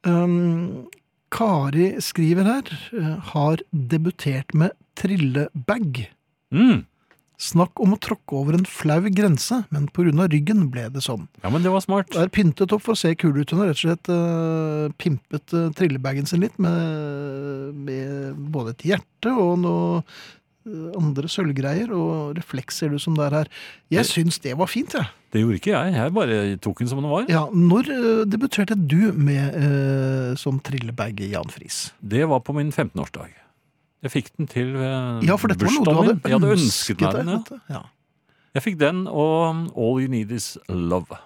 S2: Um, Kari skriver her eh, har debutert med trillebag.
S3: Mm.
S2: Snakk om å tråkke over en flau grense, men pga. ryggen ble det sånn.
S3: Ja, men det var smart.
S2: Det er pyntet opp for å se kul ut. Hun har rett og slett eh, pimpet eh, trillebagen sin litt med, med både et hjerte og noe eh, andre sølvgreier, og refleks ser det ut som det er her. Jeg syns det var fint, jeg.
S3: Det gjorde ikke jeg. Jeg bare tok den som den var.
S2: Ja. når eh, debuterte du med eh, som trillebag i Jan Friis?
S3: Det var på min 15-årsdag. Jeg fikk den til eh,
S2: Ja, for dette var noe du hadde
S3: Jeg hadde
S2: ønsket
S3: ønsket meg den, ja.
S2: deg. Ja.
S3: Jeg fikk den og All You Need Is Love.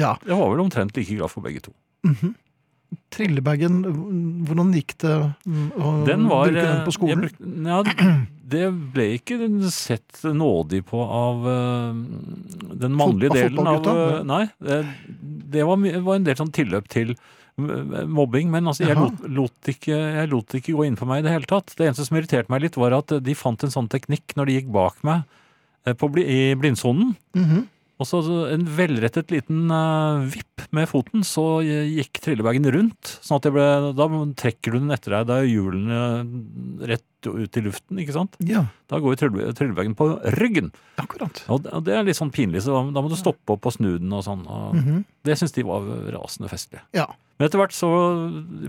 S2: Ja.
S3: Jeg var vel omtrent like glad for begge to.
S2: Mhm. Trillebagen, h- hvordan gikk det mm, å
S3: Den var
S2: bruke den
S3: eh,
S2: på skolen?
S3: jeg bruk- ja, det ble ikke sett nådig på av eh, den mannlige
S2: Fot- av
S3: delen av
S2: fotballgutta?
S3: eh, Nei. eh, Det var, my- var en del sånn tilløp til m- mobbing, men altså, jeg,
S2: Jaha.
S3: lot, lot ikke, jeg lot det ikke gå inn på meg i det hele tatt. Det eneste som irriterte meg litt, var at de fant en sånn teknikk når de gikk bak meg eh, på, bli- i blindsonen.
S2: Mhm.
S3: Og så så en velrettet liten eh, vipp med foten, så gikk trillebagen rundt. sånn at det ble, Da trekker du den etter deg. Da er hjulene eh, rett ut i luften. ikke sant?
S2: Ja,
S3: Da går jo trille- trillebagen på ryggen.
S2: akkurat.
S3: Og det- og det er litt sånn pinlig, så da, da må du stoppe opp og snu den og sånn. Og
S2: Mhm.
S3: Det syns de var rasende festlig.
S2: Ja.
S3: Men etter hvert, så,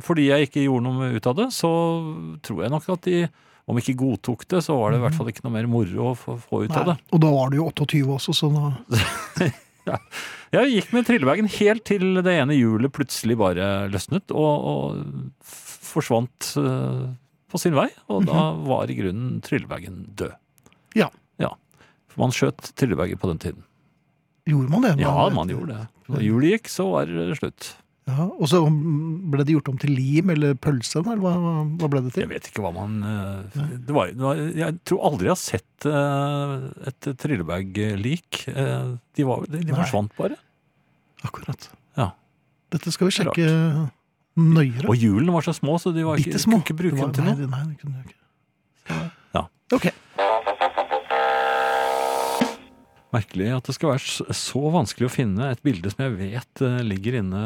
S3: fordi jeg ikke gjorde noe ut av det, så tror jeg nok at de, om ikke godtok det, så var det i hvert fall ikke noe mer moro å få, få ut av
S2: Nei.
S3: det.
S2: Og da var du jo 28 også, så da
S3: Jeg gikk med trillebagen helt til det ene hjulet plutselig bare løsnet og, og f- forsvant eh, på sin vei. Og da var i grunnen trillebagen død.
S2: Mhm. Ja.
S3: For man skjøt trillebager på den tiden.
S2: gjorde man det.
S3: Ja, man gjorde det. Når hjulet gikk, så var det slutt.
S2: Ja, og så ble det gjort om til lim eller pølse, eller hva, hva- hva ble det
S3: Jeg
S2: til?
S3: vet ikke hva man eh, det var, det var, Jeg tror aldri jeg har sett eh, et trillebag-lik. Eh, De, var, de, de
S2: Nei.
S3: forsvant bare.
S2: Akkurat.
S3: Ja.
S2: Dette skal vi sjekke Nøyere.
S3: Og hjulene var så små, så de var ikke,
S2: Bitte små.
S3: kunne ikke bruke dem til
S2: nei,
S3: noe.
S2: nei, det kunne jeg ikke.
S3: Ja.
S2: Ok.
S3: Merkelig at det skal være s- så vanskelig å finne et bilde som jeg vet eh, ligger inne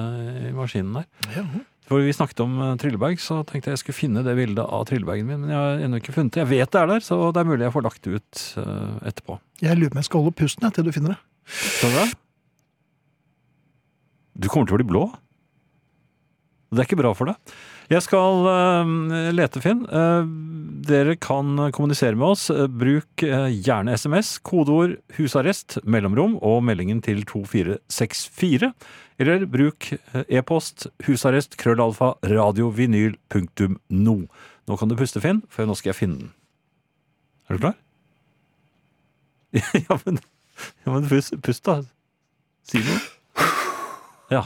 S3: i maskinen der.
S2: Ja.
S3: For vi snakket om eh, Trilleberg, så tenkte jeg jeg skulle finne det bildet av Trillebergen min, men jeg har ennå ikke funnet det. Jeg vet det er der, så det er mulig jeg får lagt det ut eh, etterpå.
S2: Jeg lurer på om jeg skal holde pusten jeg, til du finner det.
S3: Skjønner du? det? Du kommer til å bli blå. Det er ikke bra for deg. Jeg skal eh, lete, Finn. Eh, dere kan kommunisere med oss. Eh, bruk eh, gjerne SMS, kodeord 'husarrest', mellomrom og meldingen til 2464. Eller bruk eh, e-post husarrest krøllalfa radiovinyl punktum no. Nå kan du puste, Finn, for nå skal jeg finne den. Er du klar? ja, men, ja, men pust, pust, da. Si noe. Ja.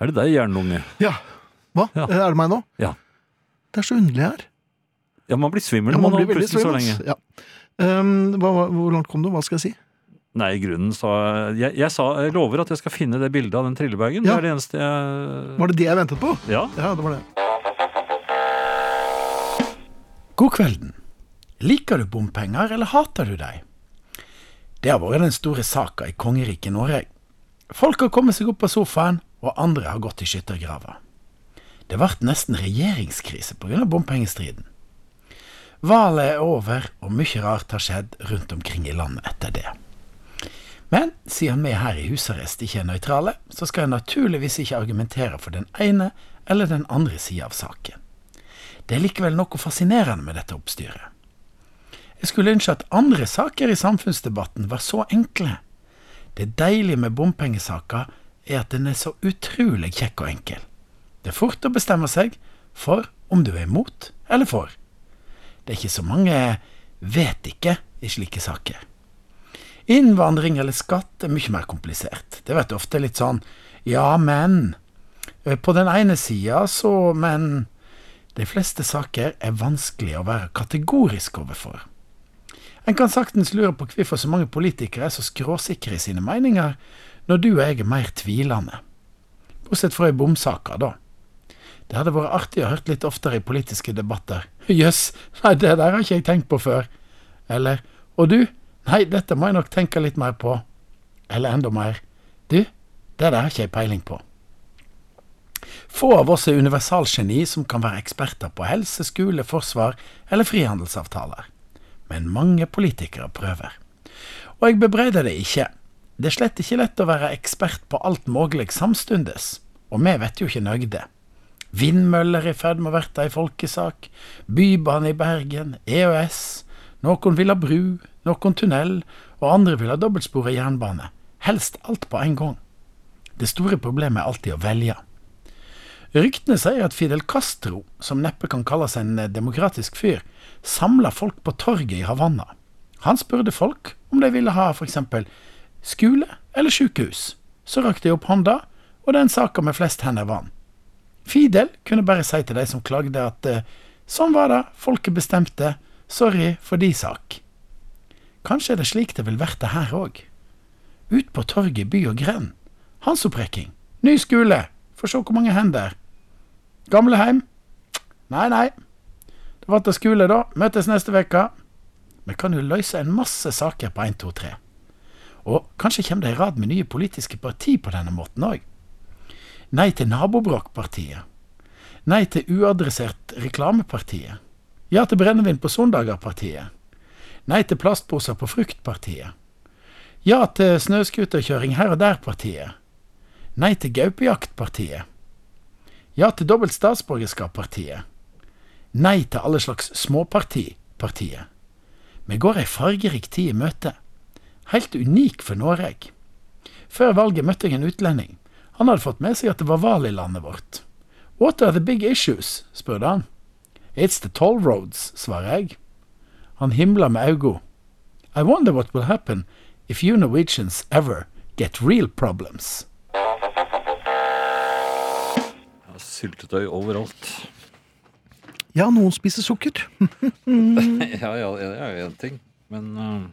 S3: Er det deg, jernlunge?
S2: Ja. Hva? Eh,
S3: Ja.
S2: Er det meg nå?
S3: Ja.
S2: det er så underlig her.
S3: Ja, man blir svimmel
S2: Ja,
S3: når
S2: man
S3: man
S2: blir
S3: har
S2: veldig
S3: pustet så
S2: svimmel.
S3: lenge.
S2: Ja. Um, hva, hva- hvor langt kom du? Hva skal jeg si?
S3: Nei, i grunnen så jeg, jeg, sa, jeg lover at jeg skal finne det bildet av den trillebaugen.
S2: Ja.
S3: Det er det eneste jeg
S2: Var det det jeg ventet på?
S3: Ja.
S2: Ja, det var det.
S5: God kvelden. Liker du bompenger, eller hater du dem? Det har vært den store saka i kongeriket Norge. Folk har kommet seg opp på sofaen, og andre har gått i skyttergrava. Det ble nesten regjeringskrise pga. bompengestriden. Valget er over, og mye rart har skjedd rundt omkring i landet etter det. Men siden vi her i husarrest ikke er nøytrale, så skal jeg naturligvis ikke argumentere for den ene eller den andre sida av saken. Det er likevel noe fascinerende med dette oppstyret. Jeg skulle ønske at andre saker i samfunnsdebatten var så enkle. Det deilige med bompengesaker er at den er så utrolig kjekk og enkel. Det er fort å bestemme seg for om du er imot eller for. Det er ikke så mange vet ikke i slike saker. Innvandring eller skatt er mye mer komplisert. Det vet ofte litt sånn ja, men. Eh, På den ene sida så, men. De fleste saker er vanskelig å være kategorisk overfor. En kan saktens lure på hvorfor så mange politikere er så skråsikre i sine meninger, når du og jeg er mer tvilende. Bortsett fra i bomsaker, da. Det hadde vært artig å hørt litt oftere i politiske debatter. Jøss, nei, det der har ikke jeg tenkt på før. Eller, og du, nei, dette må jeg nok tenke litt mer på. Eller enda mer, du, det der har ikke jeg peiling på. Få av oss er universalgeni som kan være eksperter på helse, skole, forsvar eller frihandelsavtaler. Men mange politikere prøver. Og jeg bebreider det ikke. Det er slett ikke lett å være ekspert på alt mulig samstundes. Og vi vet jo ikke nøgde. Vindmøller er i ferd med å verte ei folkesak, bybane i Bergen, EØS, noen vil ha bru, noen tunnel, og andre vil ha dobbeltsporet jernbane. Helst alt på en gang. Det store problemet er alltid å velge. Ryktene sier at Fidel Castro, som neppe kan kalles en eh, demokratisk fyr, samla folk på torget i Havanna. Han spurte folk om de ville ha f.eks. skole eller sykehus. Så rakk de opp hånda, og den saka med flest hender vant. Fidel kunne bare si til de som klagde at eh, sånn var det, folket bestemte, sorry for de sak. Kanskje er det slik det vil verte her òg. Ut på torget i by og grend. Hansopprekking. Ny skole. Få se hvor mange hender. Gamleheim. Nei, nei. Det ble til skole, da. Møtes neste uke. Vi kan jo løse en masse saker på 1, 2, 3. Og kanskje kommer det i rad med nye politiske parti på denne måten òg. Nei til nabobråkpartiet. Nei til uadressert reklamepartiet. Ja til brennevin på søndager-partiet. Nei til plastposer på fruktpartiet. Ja til snøscooterkjøring her og der-partiet. Nei til gaupejaktpartiet. Ja til dobbelt statsborgerskap-partiet. Nei til alle slags småparti-partiet. Vi går ei fargerik tid i møte. Helt unik for Norge. Før valget møtte jeg en utlending. Han hadde fått med seg at det var valg i landet vårt. What are the big issues? spurte han. It's the toll roads, svarer jeg. Han himla med øynene. I wonder what will happen if you Norwegians ever get real problems.
S3: Syltetøy overalt.
S2: Ja, noen spiser sukker.
S3: Ja, ja, det er jo én ting, men eh,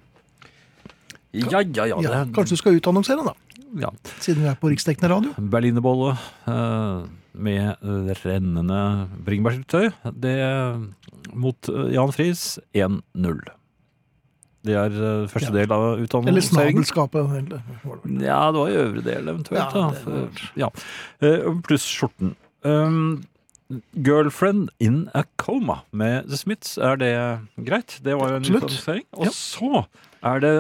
S3: Ja, ja, ja.
S2: Ja, kanskje du skal utannonsere, da.
S3: ja,
S2: siden vi er på riksdekkende radio.
S3: berlinerbolle eh, med eh, rennende bringebærsyltetøy. Det eh, mot eh, Jan Friis 1-0. Det er eh, første
S2: Ja.
S3: del av
S2: Eller
S3: utdannelsen.
S2: snabelskapet. eller-
S3: Ja, det var i øvre del eventuelt.
S2: Ja,
S3: Ja,
S2: det var det.
S3: ja. Eh, Pluss skjorten. Um, Girlfriend in a coma med The Smiths, er det greit? Det var jo en
S2: Absolutt.
S3: utannonsering. Og
S2: Ja.
S3: så er det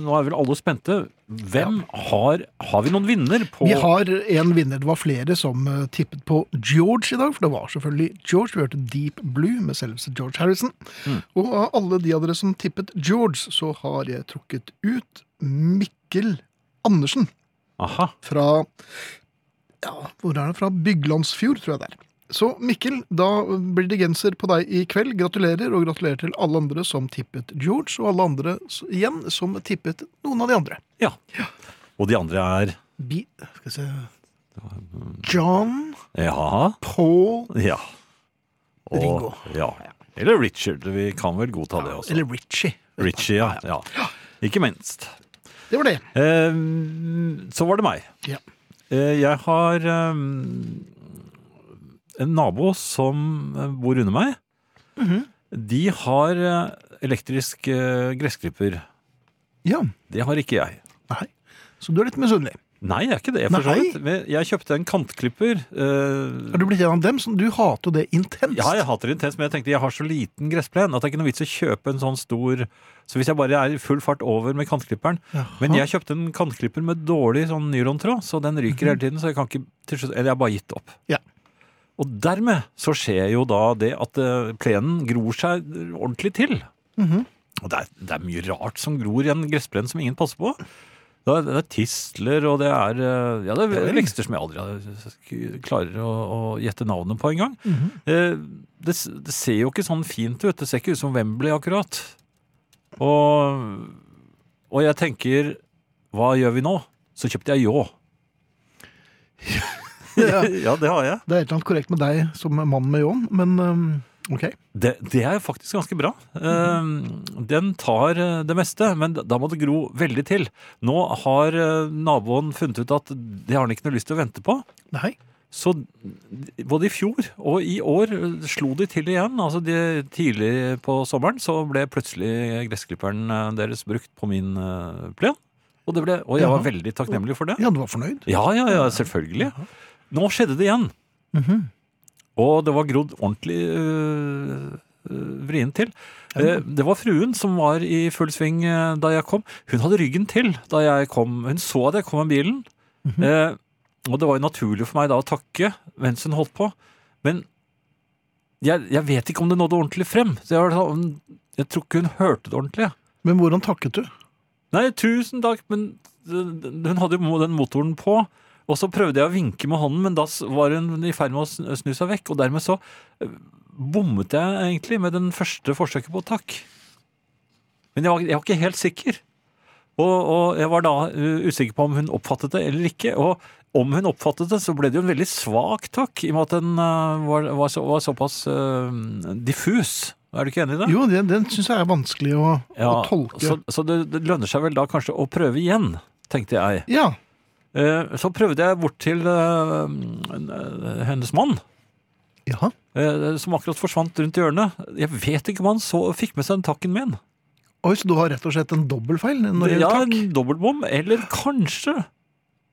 S3: Nå er vel alle spente. Hvem har Har vi noen vinner på
S2: Vi har en vinner. Det var flere som eh, tippet på George i dag, for det var selvfølgelig George. Vi hørte Deep Blue med selveste George Harrison.
S3: Mm.
S2: Og av alle de av dere som tippet George, så har jeg trukket ut Mikkel Andersen
S3: Aha.
S2: fra ja, hvor er det fra? Byglandsfjord, tror jeg det er. Så Mikkel, da blir det genser på deg i kveld. Gratulerer, og gratulerer til alle andre som tippet George, og alle andre s- igjen som tippet noen av de andre.
S3: Ja. Og de andre er
S2: Bi... Skal vi se John,
S3: Ja.
S2: Paul
S3: eh, ja. Og,
S2: Ringo.
S3: Ja. Eller Richard. Vi kan vel godta det også.
S2: Eller Richie.
S3: Richie, ja. ja. Ikke minst.
S2: Det var det.
S3: Eh, så var det meg.
S2: Ja.
S3: Eh, jeg har eh, en nabo som eh, bor under meg. Mhm. De har eh, elektrisk eh, gressklipper.
S2: ja.
S3: Det har ikke jeg.
S2: Nei. Så du er litt misunnelig.
S3: Nei, jeg er ikke det. for så
S2: Nei.
S3: vidt. Men Jeg kjøpte en kantklipper. eh,
S2: Er du blitt en av dem som du hater det intenst?
S3: Ja, jeg hater det intenst, men jeg tenkte jeg har så liten gressplen at det er ikke noe vits å kjøpe en sånn stor Så hvis jeg bare er i full fart over med kantklipperen Men jeg kjøpte en kantklipper med dårlig sånn nylontråd, så den ryker hele tiden, så jeg kan ikke til slutt Eller jeg har bare gitt opp.
S2: Ja.
S3: Og dermed så skjer jo da det at eh, plenen gror seg ordentlig til. Mhm. Og det er, det er mye rart som gror i en gressplen som ingen passer på. Det er, det er tistler, og det er, eh, ja, det er vekster som jeg aldri har- sk- klarer å, å gjette navnet på engang. Eh, det, s- det ser jo ikke sånn fint ut. Det ser ikke ut som Wembley akkurat. Og, og jeg tenker Hva gjør vi nå? Så kjøpte jeg ljå.
S2: Ja.
S3: ja, det har jeg.
S2: Det er et eller annet korrekt med deg som mann med ljåen, men øhm, ok.
S3: Det, det er faktisk ganske bra. Eh, Den tar eh, det meste, men da må det gro veldig til. Nå har eh, naboen funnet ut at det har han ikke noe lyst til å vente på.
S2: Nei.
S3: Så både i fjor og i år eh, slo de til igjen. Altså de, tidlig på sommeren så ble plutselig gressklipperen eh, deres brukt på min eh, plen. Og, det ble, og jeg var
S2: Jaha.
S3: veldig takknemlig for det.
S2: Ja, du var fornøyd?
S3: Ja, ja, ja, selvfølgelig. Nå skjedde det igjen. Og det var grodd ordentlig øh, øh, vrient til. Eh, det var fruen som var i full sving eh, da jeg kom. Hun hadde ryggen til da jeg kom. Hun så at jeg kom med bilen. eh, og det var jo naturlig for meg da å takke mens hun holdt på. Men jeg, jeg vet ikke om det nådde ordentlig frem. Så jeg, var sånn, jeg tror ikke hun hørte det ordentlig. jeg.
S2: Men hvordan takket du?
S3: Nei, tusen takk, men hun hadde jo den motoren på. Og så prøvde jeg å vinke med hånden, men da s- var hun i ferd med å sn- snu seg vekk. Og dermed så eh, bommet jeg egentlig med den første forsøket på takk. Men jeg var, jeg var ikke helt sikker. Og, og jeg var da eh, usikker på om hun oppfattet det eller ikke. Og om hun oppfattet det, så ble det jo en veldig svak takk, i og med at den eh, var, var, så, var såpass eh, diffus. Er du ikke enig i det?
S2: Jo, den, den syns jeg er vanskelig å, å tolke.
S3: Så, så det, det lønner seg vel da kanskje å prøve igjen, tenkte jeg.
S2: Ja.
S3: Eh, så prøvde jeg bort til eh, hennes mann,
S2: Jaha.
S3: eh, som akkurat forsvant rundt hjørnet. Jeg vet ikke om han så, fikk med seg den takken min.
S2: Oi, så du har rett og slett en dobbeltfeil når det
S3: ja,
S2: gjelder takk?
S3: en dobbeltbom, eller kanskje.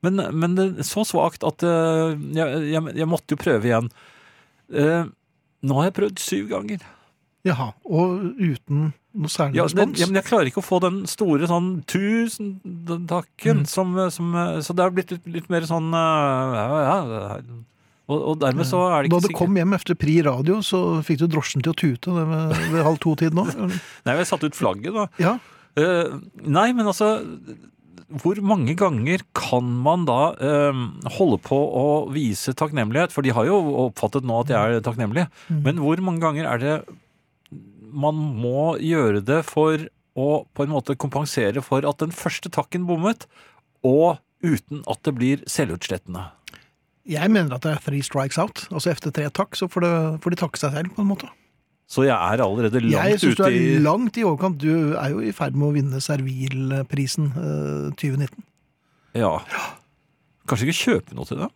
S3: Men, men det er så svakt at eh, jeg, jeg, jeg måtte jo prøve igjen. Eh, nå har jeg prøvd syv ganger.
S2: Jaha. Og uten noe særlig
S3: Ja, den,
S2: respons?
S3: ja, men jeg klarer ikke å få den store sånn tusen takken som, som Så det har blitt litt, litt mer sånn eh, ja, ja, ja. Og, og dermed så er det
S2: da
S3: ikke
S2: du kom hjem efter Pri radio, så fikk du drosjen til å tute det ved, ved halv to-tid nå?
S3: Nei, jeg satte ut flagget, da.
S2: Ja.
S3: Eh, nei, men altså Hvor mange ganger kan man da eh, holde på å vise takknemlighet? For de har jo oppfattet nå at jeg er takknemlig.
S2: Mm.
S3: Men hvor mange ganger er det man må gjøre det for å på en måte kompensere for at den første takken bommet, og uten at det blir selvutslettende?
S2: Jeg mener at det er three strikes out. Altså efter tre takk, så får, det, får de takke seg selv, på en måte.
S3: Så jeg er allerede
S2: jeg
S3: langt
S2: syns du
S3: ute
S2: er
S3: i
S2: langt i overkant. Du er jo i ferd med å vinne Servilprisen eh, 2019.
S3: Ja. Kanskje ikke kjøpe noe til dem?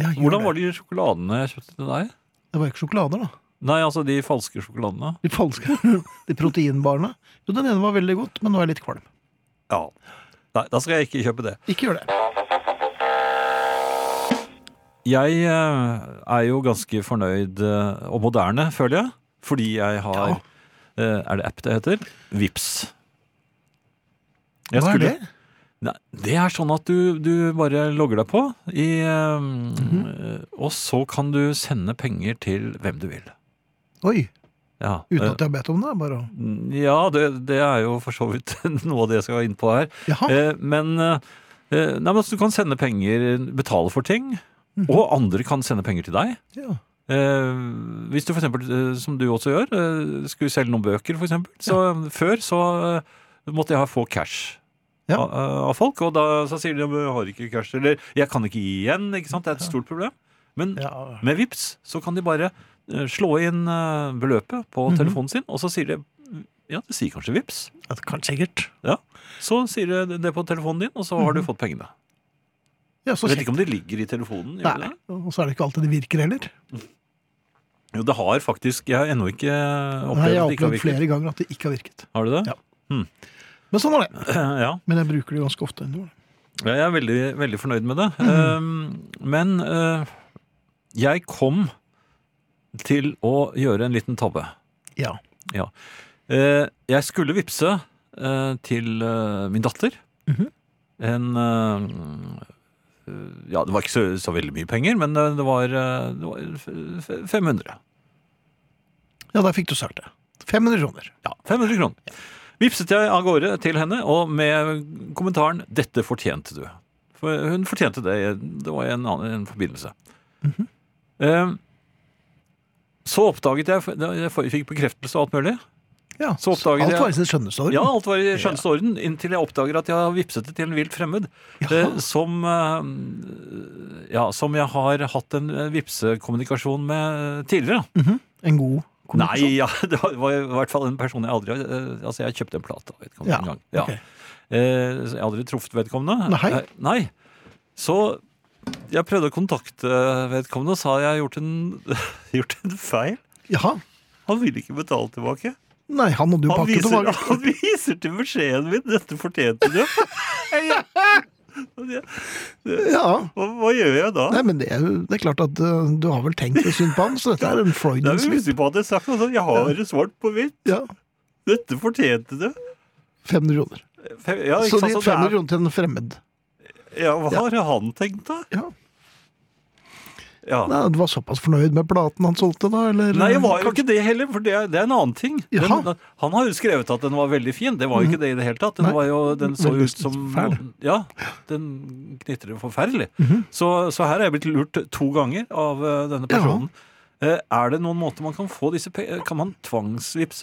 S2: Jeg gjør
S3: Hvordan
S2: det.
S3: var de sjokoladene jeg kjøpte til deg?
S2: Det var jo ikke sjokolader, da.
S3: Nei, altså de falske sjokoladene.
S2: De falske. De proteinbarene. Jo, den ene var veldig godt, men nå er jeg litt kvalm.
S3: Ja. Nei, da skal jeg ikke kjøpe det.
S2: Ikke gjør det.
S3: Jeg eh, er jo ganske fornøyd eh, og moderne, føler jeg. Fordi jeg har
S2: Ja.
S3: eh, Er det app det heter? Vips. Jeg
S2: Hva er det?
S3: skulle- Nei, det er sånn at du, du bare logger deg på, i, eh, eh, og så kan du sende penger til hvem du vil.
S2: Oi,
S3: Ja,
S2: uten
S3: eh,
S2: at jeg har bedt om det. Bare. å-
S3: ja det, det er jo for så vidt noe av det jeg skal inn på her.
S2: Jaha.
S3: Eh, Men, eh, eh, nei, men altså, du kan sende penger, betale for ting,
S2: Mhm.
S3: og andre kan sende penger til deg.
S2: Ja.
S3: Eh, hvis du for eksempel, eh, som du også gjør, eh, skulle selge noen bøker for eksempel, så eh, før så eh, måtte jeg ha få cash
S2: Ja.
S3: av, eh, av folk, og da så sier de, jeg har ikke cash, eller jeg kan ikke gi igjen, ikke sant? Det er et stort problem. Men
S2: Ja.
S3: med VIPs så kan de bare eh, slå inn eh, beløpet på
S2: Mhm.
S3: telefonen sin, og så sier de, ja, det sier kanskje VIPs.
S2: Ja, det kan sikkert.
S3: Ja, så sier det det på telefonen din, og så har
S2: Mhm.
S3: du fått pengene.
S2: Ja, så
S3: Jeg vet ikke
S2: kjekt.
S3: om det ligger i telefonen. gjør
S2: Nei.
S3: det?
S2: Og så er det ikke alltid det virker heller.
S3: Jo, det har faktisk Jeg har ennå ikke opplevd
S2: Nei, jeg har
S3: at det ikke
S2: opplevd
S3: har virket.
S2: flere ganger at det ikke har virket.
S3: Har du det?
S2: Ja. Men sånn er det.
S3: Ja.
S2: Men jeg bruker det jo ganske ofte. ennå.
S3: Ja, Jeg er veldig, veldig fornøyd med det.
S2: Mhm.
S3: Um, men eh, jeg kom til å gjøre en liten tabbe.
S2: Ja.
S3: Eh, jeg skulle vippse eh, til eh, min datter
S2: Mhm.
S3: en eh, mm, Ja, det var ikke så, så veldig mye penger, men eh, det var, eh, det var f- f- 500.
S2: ja, der fikk du sagt det. 500 kroner.
S3: Ja, 500 kroner. Vipset jeg av gårde til henne, og med kommentaren 'Dette fortjente du'. For hun fortjente det. Det var en, annen, en forbindelse. Eh, så oppdaget jeg Jeg fikk bekreftelse og alt mulig.
S2: Ja.
S3: Så oppdaget
S2: Alt
S3: jeg-
S2: var i sin skjønneste orden.
S3: Ja, alt var i skjønneste orden, inntil jeg oppdager at jeg har vipset det til en vilt fremmed. eh, Som, eh, ja, som jeg har hatt en eh, vipsekommunikasjon med eh, tidligere.
S2: En god kommunikasjon.
S3: Nei, ja, det var, var i hvert fall en person jeg aldri har eh, Altså, jeg kjøpte en plate av vedkommende
S2: Ja,
S3: en gang. Ja.
S2: ok.
S3: Eh, så jeg har aldri truffet vedkommende.
S2: Nei.
S3: Eh, nei. Så jeg prøvde å kontakte vedkommende og sa jeg har gjort en, gjort en feil.
S2: Jaha.
S3: Han vil ikke betale tilbake.
S2: Nei, han hadde jo
S3: Han
S2: pakket
S3: viser,
S2: tilbake.
S3: han viser til beskjeden min 'dette fortjente du'. Og jeg-
S2: Ja.
S3: Hva, hva gjør jeg da?
S2: Nei, men det er, jo- det er klart at eh, du har vel tenkt litt synd på han, så dette er en
S3: Det er
S2: Freudian
S3: jo
S2: slip.
S3: plutselig på at jeg har sagt noe sånt. Jeg har svart på hvitt.
S2: Ja.
S3: Dette fortjente du.
S2: 500 kroner.
S3: Fem- Ja, ikke
S2: Så de
S3: sant? det
S2: 500
S3: er-
S2: kroner til en fremmed.
S3: Ja, hva har han tenkt da?
S2: Ja.
S3: Ja.
S2: Nei, du var såpass fornøyd med platen han solgte, da? Eller?
S3: Nei, jeg var jo ikke det heller, for det er, det er en annen ting. Den,
S2: Jaha. Mm.
S3: han har jo skrevet at den var veldig fin. Det var jo ikke det i det hele tatt. Den,
S2: Nei.
S3: var jo, den så
S2: Veldig
S3: ut som
S2: fæl.
S3: Ja, den knitrer forferdelig.
S2: Mhm.
S3: så, så her er jeg blitt lurt to ganger av eh, denne
S2: Ja.
S3: personen. Eh, Er det noen måte man kan få disse pengene Kan man tvangsvipse?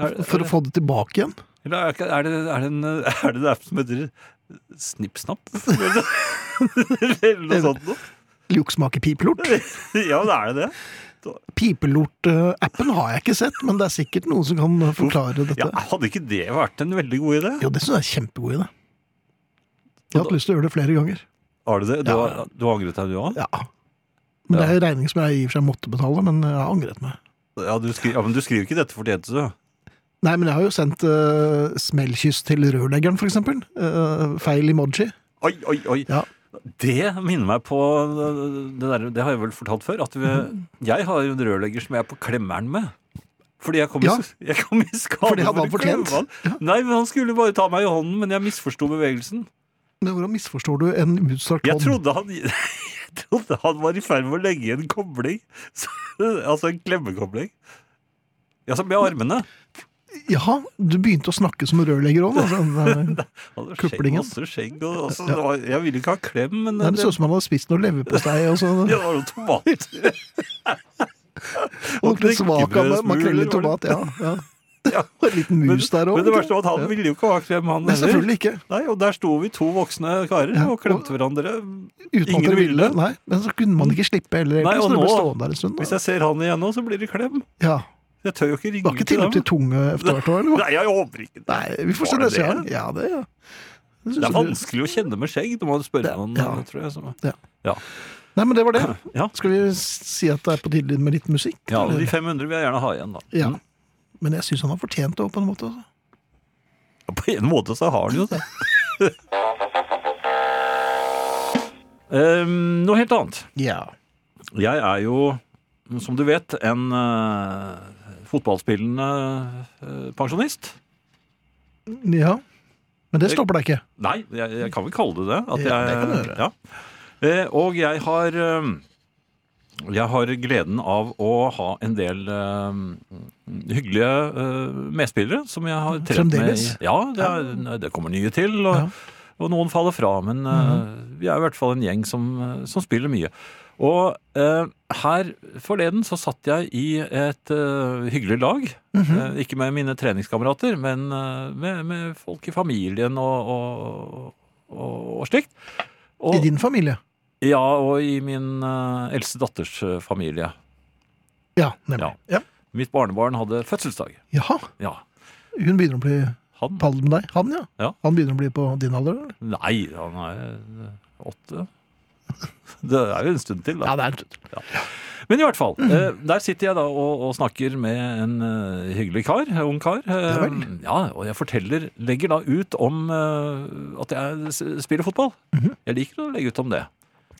S3: Er,
S2: For å få det tilbake igjen?
S3: eller er, ikke- er, det, er, det en, er det det app som heter Snippsnapp? Eller noe sånt noe?
S2: Luksmaker pipelort?
S3: Ja, men er det det?
S2: Pipelort-appen har jeg ikke sett, men det er sikkert noen som kan eh, forklare
S3: Ja,
S2: dette.
S3: hadde ikke det vært en veldig god idé?
S2: Jo, det syns jeg er kjempegod idé. Jeg har hatt lyst til å gjøre det flere ganger.
S3: Har du det? Du,
S2: Ja.
S3: har, du har angret deg, du òg?
S2: Ja. Men det er jo regning som jeg i og for seg måtte betale, men jeg har angret meg.
S3: Ja, du skri- ja, men du skriver ikke 'dette fortjente du'.
S2: Nei, men jeg har jo sendt eh, smellkyss til rørleggeren, for eksempel. Eh, feil emoji.
S3: Oi, oi, oi.
S2: Ja.
S3: Det minner meg på øh, det, der, det har jeg vel fortalt før. At vi, jeg har jo en rørlegger som jeg er på klemmeren med. Fordi jeg kom,
S2: Ja.
S3: i, jeg kom i skade
S2: Fordi han var
S3: å klemme
S2: fortjent.
S3: han. Nei, men han skulle bare ta meg i hånden, men jeg misforsto bevegelsen.
S2: Men hvordan misforstår du en utstrakt
S3: Jeg
S2: hånd?
S3: trodde han, jeg trodde han var i ferd med å legge i en kobling. Så, altså en klemmekobling. Ja, så med armene.
S2: Jaha, du begynte å snakke som rørlegger òg, altså.
S3: Han hadde skjegg,
S2: Kuplingen.
S3: masse skjegg. Og, altså, det var- Jeg ville ikke ha klem, men
S2: Nei, Det så ut som han hadde spist noe leverpostei og sånn.
S3: det var noe tomat.
S2: Og litt svak av
S3: knekkebrødsmuler,
S2: makrell i
S3: var det?
S2: tomat. Ja, ja.
S3: Ja.
S2: Og en liten
S3: Men,
S2: mus der òg.
S3: men det verste var at han ville jo ikke ha klem, han
S2: Nei,
S3: heller.
S2: selvfølgelig ikke.
S3: Nei, og der sto vi to voksne karer
S2: Ja,
S3: og klemte
S2: og-
S3: hverandre.
S2: Uten
S3: Ingen
S2: at dere ville.
S3: ville.
S2: Nei, men så kunne man ikke slippe heller.
S3: Nei,
S2: egentlig,
S3: og
S2: så det ble
S3: nå-
S2: stående der en stund.
S3: Hvis
S2: Da.
S3: jeg ser han igjen nå, så blir det klem.
S2: Ja.
S3: Jeg tør jo ikke
S2: Det var
S3: ringe
S2: ikke tilløp til
S3: til dem.
S2: tunge etter hvert òg, eh, eller? hva?
S3: Nei, jeg håper ikke det.
S2: Nei, vi får
S3: Var
S2: se
S3: det
S2: neste gang.
S3: det?
S2: Ja, det, ja. synes
S3: Det er
S2: jeg blir-
S3: vanskelig å kjenne med skjegg. Du må spørre
S2: Det-
S3: noen,
S2: ja.
S3: tror jeg. Som,
S2: Nei, men det var det.
S3: ja.
S2: Skal vi si at det er på tide med litt musikk?
S3: ja,
S2: eller?
S3: de 500 vil jeg gjerne ha igjen, da.
S2: ja. Men jeg syns han har fortjent det òg, på en måte. altså.
S3: Ja, På en måte så har han jo det. Ehm, noe helt annet.
S2: Ja.
S3: Jeg er jo, som du vet, en eh, fotballspillende eh, pensjonist.
S2: ja. Men det stopper deg ikke.
S3: Nei, jeg, jeg kan vel kalle det det. At
S2: Ja,
S3: jeg,
S2: det kan du gjøre.
S3: Ja. Eh, og jeg har eh, jeg har gleden av å ha en del eh, hyggelige eh, medspillere som jeg har trent
S2: Fremdeles?
S3: med. i- Ja, det, er, det kommer nye til, og,
S2: Ja. Mhm.
S3: og noen faller fra. Men eh, vi er i hvert fall en gjeng som, eh, som spiller mye. Og eh, her forleden så satt jeg i et eh, hyggelig lag.
S2: Mhm.
S3: Eh, ikke med mine treningskamerater, men eh, med, med folk i familien og, og, og, og slikt. Og,
S2: I din familie.
S3: Ja, og i min eh, eldste datters eh, familie.
S2: Ja, nemlig. Ja.
S3: Mitt barnebarn hadde fødselsdag.
S2: Jaha.
S3: Ja.
S2: Hun begynner å bli
S3: Han?
S2: på alder med deg. Han, ja.
S3: Ja.
S2: Han begynner å bli på din alder? eller?
S3: Nei, han er eh, åtte. Det er jo en stund til, da.
S2: Ja, det er en
S3: Men i hvert fall, eh, der sitter jeg da og, og snakker med en eh, hyggelig kar, en ung kar. Eh,
S2: Ja vel.
S3: ja, og jeg forteller, legger da ut om eh, at jeg s- spiller fotball.
S2: Mhm.
S3: Jeg liker å legge ut om det.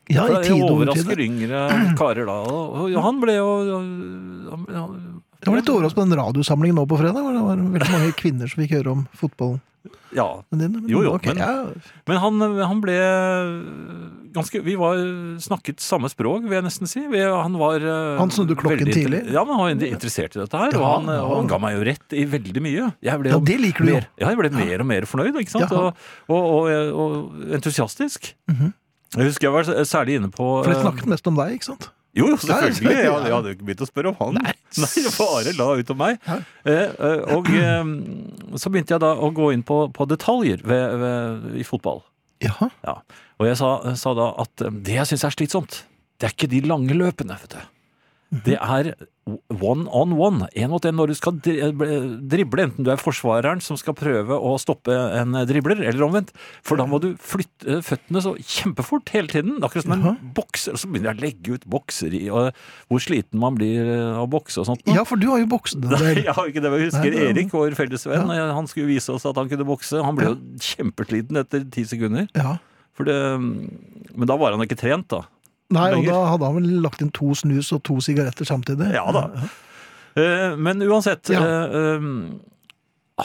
S2: Ja,
S3: For
S2: i
S3: jeg
S2: tide og utide.
S3: overrasker yngre karer da. Og, og han ble jo han, han-
S2: Jeg var litt overrasket på den radiosamlingen nå på fredag. hvor Det var veldig mange kvinner som fikk høre om fotballen
S3: Ja.
S2: din. men
S3: Jo, jo,
S2: ok,
S3: men-
S2: ja.
S3: Men han, han ble ganske Vi var, snakket samme språk, vil jeg nesten si. Vi, han var eh,
S2: Han snudde klokken
S3: veldig inter-
S2: tidlig.
S3: Ja, men han var interessert i dette her. og
S2: Ja,
S3: han,
S2: ja.
S3: og han ga meg jo rett i veldig mye. Jeg ble
S2: ja,
S3: jo
S2: det liker du jo.
S3: mer, ja, jeg ble mer og mer fornøyd, ikke sant?
S2: Jaha.
S3: Og, og, og, og entusiastisk.
S2: Mhm.
S3: Jeg husker jeg var særlig inne på
S2: For det
S3: eh,
S2: snakket mest om deg, ikke sant?
S3: Jo, jo,
S2: Ja,
S3: selvfølgelig.
S2: selvfølgelig,
S3: Jeg,
S2: ja.
S3: hadde- jeg hadde jo ikke begynt å spørre om han.
S2: Nei.
S3: Nei, jeg bare la ut om meg.
S2: Ja.
S3: Eh, eh, og eh, så begynte jeg da å gå inn på, på detaljer ved, ved, i fotball.
S2: Jaha.
S3: Ja. Og jeg sa, sa da at eh, det jeg syns er slitsomt, det er ikke de lange løpene, vet du.
S2: Mhm.
S3: Det er one on one, én mot én, når du skal dri- eh, drible, enten du er forsvareren som skal prøve å stoppe en dribler, eller omvendt. For da må du flytte eh, føttene så kjempefort hele tiden. Det er Akkurat som
S2: Jaha.
S3: en bokser. Og så begynner jeg å legge ut bokser i, og hvor sliten man blir eh, av å bokse og sånt. nå.
S2: Ja, for du har jo bokset en del.
S3: Jeg har ikke det, men
S2: Nei,
S3: jeg husker
S2: det er-
S3: Erik, vår felles venn. eh, Han skulle vise oss at han kunne bokse. Han ble jo kjempesliten etter ti sekunder.
S2: Ja.
S3: For det, men da var han ikke trent, da.
S2: Nei, og
S3: Lenger.
S2: da hadde han vel lagt inn to snus og to sigaretter samtidig.
S3: Ja da. Eh, Men uansett
S2: Ja.
S3: eh, um,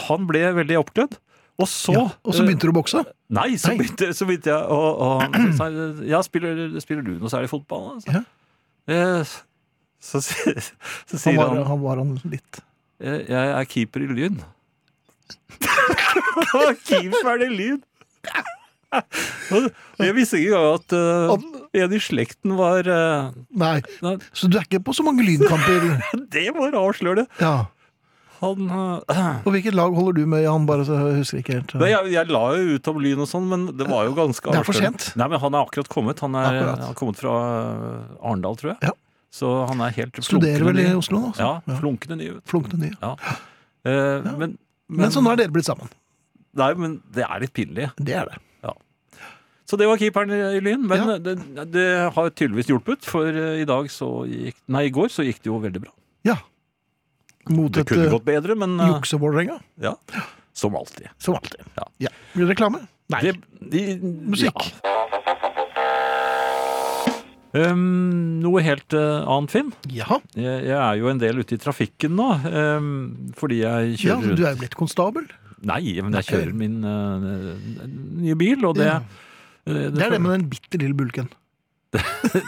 S3: Han ble veldig oppglødd. Og så
S2: Ja, Og så begynte du å bokse?
S3: eh, Nei, så
S2: Nei.
S3: begynte, så begynte jeg å å- så sa jeg, Ja, spiller, spiller du noe særlig fotball? da?» Så, Eh, så, si- så
S2: Han
S3: sier
S2: var
S3: han,
S2: han, var han litt
S3: «Eh, Jeg er keeper i Lyn. Keeperen i Lyn! Og Jeg visste ikke engang at eh, en i slekten var eh,
S2: Nei,
S3: Nei.
S2: så du er ikke på så mange lynkamper?
S3: Det var avslørende!
S2: Ja.
S3: Han eh,
S2: Og hvilket lag holder du med, Jan? Bare så jeg husker ikke helt.
S3: Nei, jeg, jeg la jo ut om lyn og sånn, men det var jo ganske
S2: Det er for
S3: avslørende.
S2: sent.
S3: Nei, men han er akkurat kommet. Han er,
S2: Akkurat.
S3: han er kommet fra øh, Arendal, tror jeg.
S2: Ja.
S3: Så han er helt
S2: Studerer vel i
S3: flunkende ny.
S2: Oslo nå? så.
S3: Ja, flunkende ny. vet du.
S2: Flunkende nye.
S3: Eh, Men,
S2: Men, så nå er dere blitt sammen.
S3: Nei, men det er litt pinlig.
S2: Det er det.
S3: Så det var keeperen i i Lyn. Men
S2: Ja.
S3: det, det har tydeligvis hjulpet, for eh, i dag så gikk Nei, i går så gikk det jo veldig bra.
S2: Ja. Mot
S3: Det
S2: et
S3: kunne
S2: eh,
S3: gått bedre, men eh,
S2: juksevålerenga,
S3: ja, som alltid.
S2: som alltid.
S3: Ja.
S2: Ja. Blir det reklame? Nei.
S3: Det, de,
S2: Musikk.
S3: Ja. Um, noe helt eh, annet, Finn.
S2: Jaha.
S3: Jeg, jeg er jo en del ute i trafikken nå, ehm, fordi jeg
S2: Ja,
S3: kjører
S2: du
S3: rundt.
S2: er jo blitt konstabel.
S3: Nei, men jeg kjører min eh, nye bil, og det
S2: Ja.
S3: eh,
S2: Det er det med den bitte lille bulken.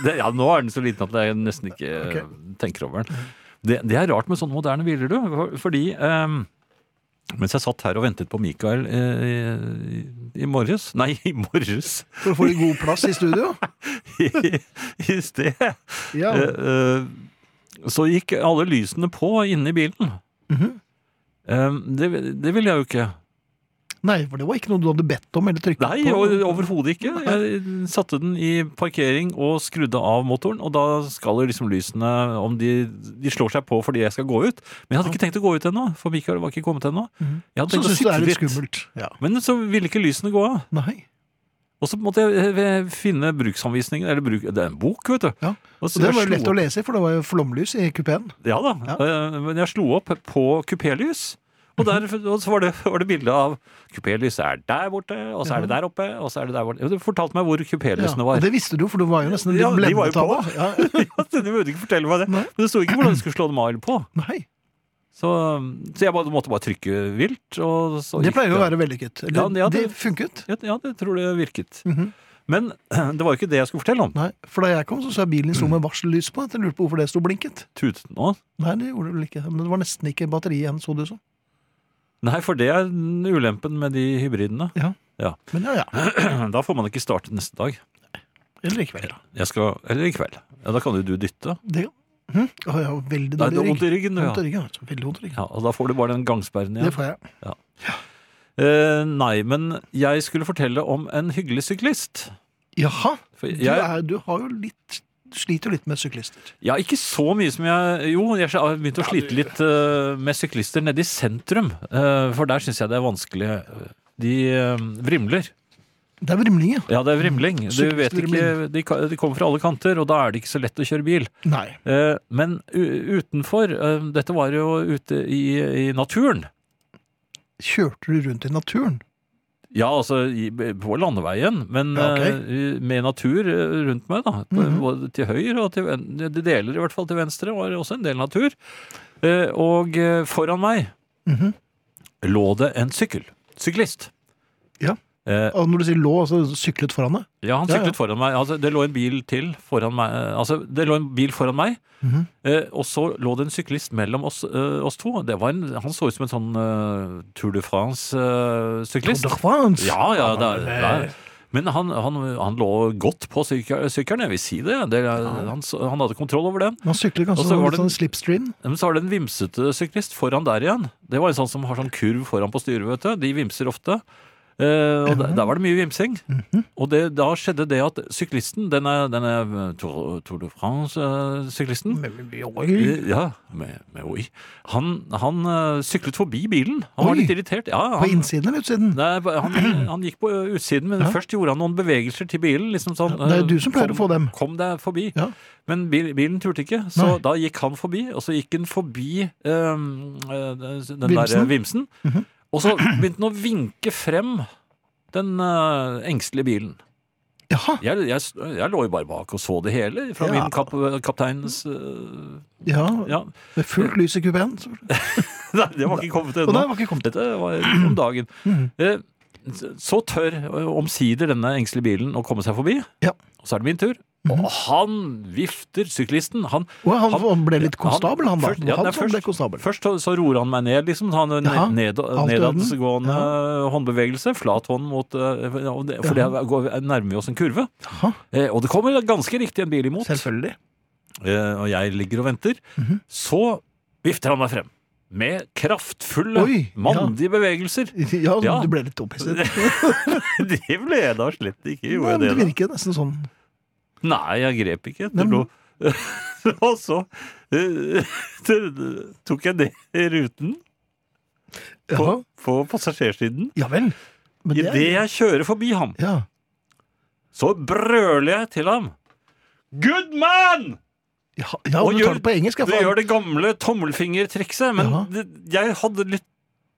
S3: det, ja, nå er den så liten at jeg nesten ikke eh, tenker over den. Det, det er rart med sånne moderne biler, du. for- Fordi ehm, mens jeg satt her og ventet på Mikael eh, i, i morges Nei, i morges!
S2: For å få litt god plass i studio.
S3: I, i sted.
S2: Ja.
S3: Eh, eh, Så gikk alle lysene på inne i bilen.
S2: Mhm.
S3: Eh, det, det ville jeg jo ikke.
S2: Nei, for det var ikke noe du hadde bedt om eller trykket
S3: Nei,
S2: på.
S3: o- overhodet ikke. Jeg satte den i parkering og skrudde av motoren, og da skal jo liksom lysene om de, de slår seg på fordi jeg skal gå ut. Men jeg hadde ikke tenkt å gå ut ennå, for Mikael var ikke kommet ennå.
S2: Mhm.
S3: Jeg hadde
S2: Så
S3: tenkt å
S2: syns du det
S3: sitte
S2: er litt
S3: litt.
S2: skummelt. Ja.
S3: Men så ville ikke lysene gå av.
S2: Nei.
S3: Og så måtte jeg eh, ve- finne bruksanvisningen, eller bruk, det er en bok, vet du.
S2: Ja.
S3: Og
S2: Så det
S3: jeg
S2: var jo
S3: slo
S2: lett å lese, for det var jo flomlys i kupeen.
S3: Ja da,
S2: Ja.
S3: eh, men jeg slo opp på kupélys. Og, der,
S2: Mhm.
S3: og så var det, var det bilde av kupélys er der borte, og så er det der oppe, og så er det der borte. Du fortalte meg hvor
S2: Ja.
S3: kupélysene
S2: Og
S3: var.
S2: det visste du, for du var jo nesten litt
S3: Ja, de var
S2: blendet
S3: jo
S2: av
S3: på.
S2: det. Ja.
S3: Ja, du burde ikke fortelle meg det.
S2: Nei.
S3: Men det sto ikke hvordan du skulle slå dem av eller på.
S2: Nei.
S3: Så, så jeg bare, måtte bare trykke vilt. Og så
S2: Det
S3: gikk
S2: pleier jo å være vellykket.
S3: Ja,
S2: Eller,
S3: ja,
S2: det
S3: det-
S2: funket.
S3: Ja, ja, det tror det virket.
S2: Mhm.
S3: Men det var jo ikke det jeg skulle fortelle om.
S2: Nei, For da jeg kom, så så jeg bilen din sto med varsellys på. Jeg lurte på hvorfor det sto blinket.
S3: Tutet nå.
S2: Nei, det gjorde det vel ikke. Men det var nesten ikke batteri igjen, så du så.
S3: Nei, for det er ulempen med de hybridene.
S2: Men ja, ja.
S3: Da får man ikke starte neste dag.
S2: Eller i kveld, da.
S3: Jeg skal, eller i kveld. Ja, da kan jo du dytte.
S2: Det, hm? Å, jeg har veldig
S3: Nei, du har
S2: dårlig
S3: vondt
S2: rygg.
S3: i ryggen, du.
S2: Vondt i
S3: Ja.
S2: ryggen, altså. Veldig vondt i ryggen.
S3: Ja, og da får du bare den gangsperren
S2: Det
S3: igjen.
S2: får jeg.
S3: Eh, nei, men jeg skulle fortelle om en hyggelig syklist.
S2: Jaha.
S3: For
S2: Du,
S3: jeg,
S2: er, du har jo litt du sliter jo litt med syklister.
S3: Ja, ikke så mye som jeg Jo, jeg har begynt å slite litt eh, med syklister nede i sentrum. eh, for der syns jeg det er vanskelig. De eh, vrimler.
S2: Det er vrimling, ja.
S3: Ja, det er vrimling. Du vet ikke,
S2: Sykkelvrimling.
S3: de, ka- de kommer fra alle kanter, og da er det ikke så lett å kjøre bil.
S2: Nei.
S3: Eh, men u utenfor eh, Dette var jo ute i, i naturen.
S2: Kjørte du rundt i naturen?
S3: Ja, altså i, på landeveien, men
S2: Ja, ok.
S3: eh, med natur eh, rundt meg, da.
S2: Mhm.
S3: Både til høyre og til ven- De deler i hvert fall til venstre var også en del natur. Eh, og eh, foran meg
S2: Mhm.
S3: lå det en sykkel. Syklist.
S2: Ja.
S3: Eh,
S2: Og når du sier lå, altså syklet foran deg?
S3: ja, han
S2: Ja, ja.
S3: syklet foran meg. Altså, det lå en bil til foran meg. eh, Altså, det lå en bil foran meg,
S2: Mhm.
S3: eh, og så lå det en syklist mellom oss, eh, oss to. Det var en, han så ut som en sånn eh, Tour de eh, France-syklist.
S2: Tour de France!
S3: ja, ja, det er, det
S2: eh,
S3: er. Men han, han, han lå godt på syke- sykkelen, jeg vil si det. det er- han, s- han hadde kontroll over den.
S2: Man sykler kanskje
S3: Og så
S2: sånn,
S3: var
S2: litt
S3: det-
S2: sånn slipstream.
S3: Men så er det en vimsete syklist foran der igjen. Det var en sånn som har sånn kurv foran på styret, vet du. De vimser ofte. Eh, og der, der var det mye vimsing.
S2: Mhm.
S3: Og det, da skjedde det at syklisten, denne, denne eh, Tour, Tour de France-syklisten Eh, ja, med, med oi. Han, han eh, syklet forbi bilen. Han var
S2: Oi.
S3: litt irritert. Ja,
S2: På
S3: han,
S2: innsiden eller utsiden?
S3: Nei, ba- han, han gikk på ø, utsiden, men
S2: Ja.
S3: først gjorde han noen bevegelser til bilen. Liksom sånn,
S2: Ja, det er
S3: ø,
S2: du som pleier
S3: kom,
S2: å få dem.
S3: Kom deg forbi.
S2: Ja.
S3: Men bil, bilen turte ikke, så
S2: Nei.
S3: da gikk han forbi, og så gikk han forbi øhm, ø, den der eh,
S2: Vimsen. Mhm.
S3: vimsen. Og så begynte han å vinke frem den ø, engstelige bilen.
S2: Jaha.
S3: Jeg, jeg, jeg lå jo bare bak og så det hele fra
S2: Ja.
S3: min kap, kapteins ø,
S2: Ja,
S3: Ja.
S2: Med fullt lys i kupeen. så-
S3: Nei, det var ikke kommet
S2: Og der
S3: ennå.
S2: var ikke kommet.
S3: Dette var om dagen.
S2: Mm.
S3: Eh, Så tør eh, omsider denne engstelige bilen å komme seg forbi.
S2: Ja. Mhm.
S3: Og så er det min tur. Og han vifter syklisten. Han,
S2: Og han, han ble litt
S3: han-
S2: konstabel, han da.
S3: først- ja,
S2: han
S3: nei,
S2: som ble konstabel.
S3: Først så- så roer han meg ned, liksom. Han en
S2: Jaha,
S3: ned,
S2: alt i orden.
S3: nedadgående håndbevegelse. Flat hånd mot eh, og det- For det
S2: Jaha.
S3: går, nærmer vi oss en kurve.
S2: Jaha.
S3: Eh, Og det kommer ganske riktig en bil imot.
S2: Selvfølgelig. Mhm.
S3: Eh, Og jeg ligger og venter. Så vifter han meg frem. Med kraftfulle,
S2: Oi, ja.
S3: mandige bevegelser.
S2: Ja,
S3: Ja.
S2: du ble litt opphisset.
S3: Det ble jeg da slett ikke.
S2: Ja,
S3: Gjorde
S2: men det
S3: jeg det?
S2: virker nesten sånn.
S3: Da. Nei, jeg grep ikke
S2: Nei,
S3: etter
S2: men-
S3: noe. Og så eh, tok jeg ned ruten på,
S2: Ja,
S3: på passasjersiden.
S2: ja vel. Men det,
S3: Idet
S2: er-
S3: jeg kjører forbi ham,
S2: ja.
S3: så brøler jeg til ham. Good man!
S2: Ja, ja,
S3: Og
S2: du
S3: gjør-
S2: tar det på engelsk, ja.
S3: Du
S2: faen.
S3: gjør det gamle tommelfingertrikset, men
S2: Jaha.
S3: det, jeg hadde litt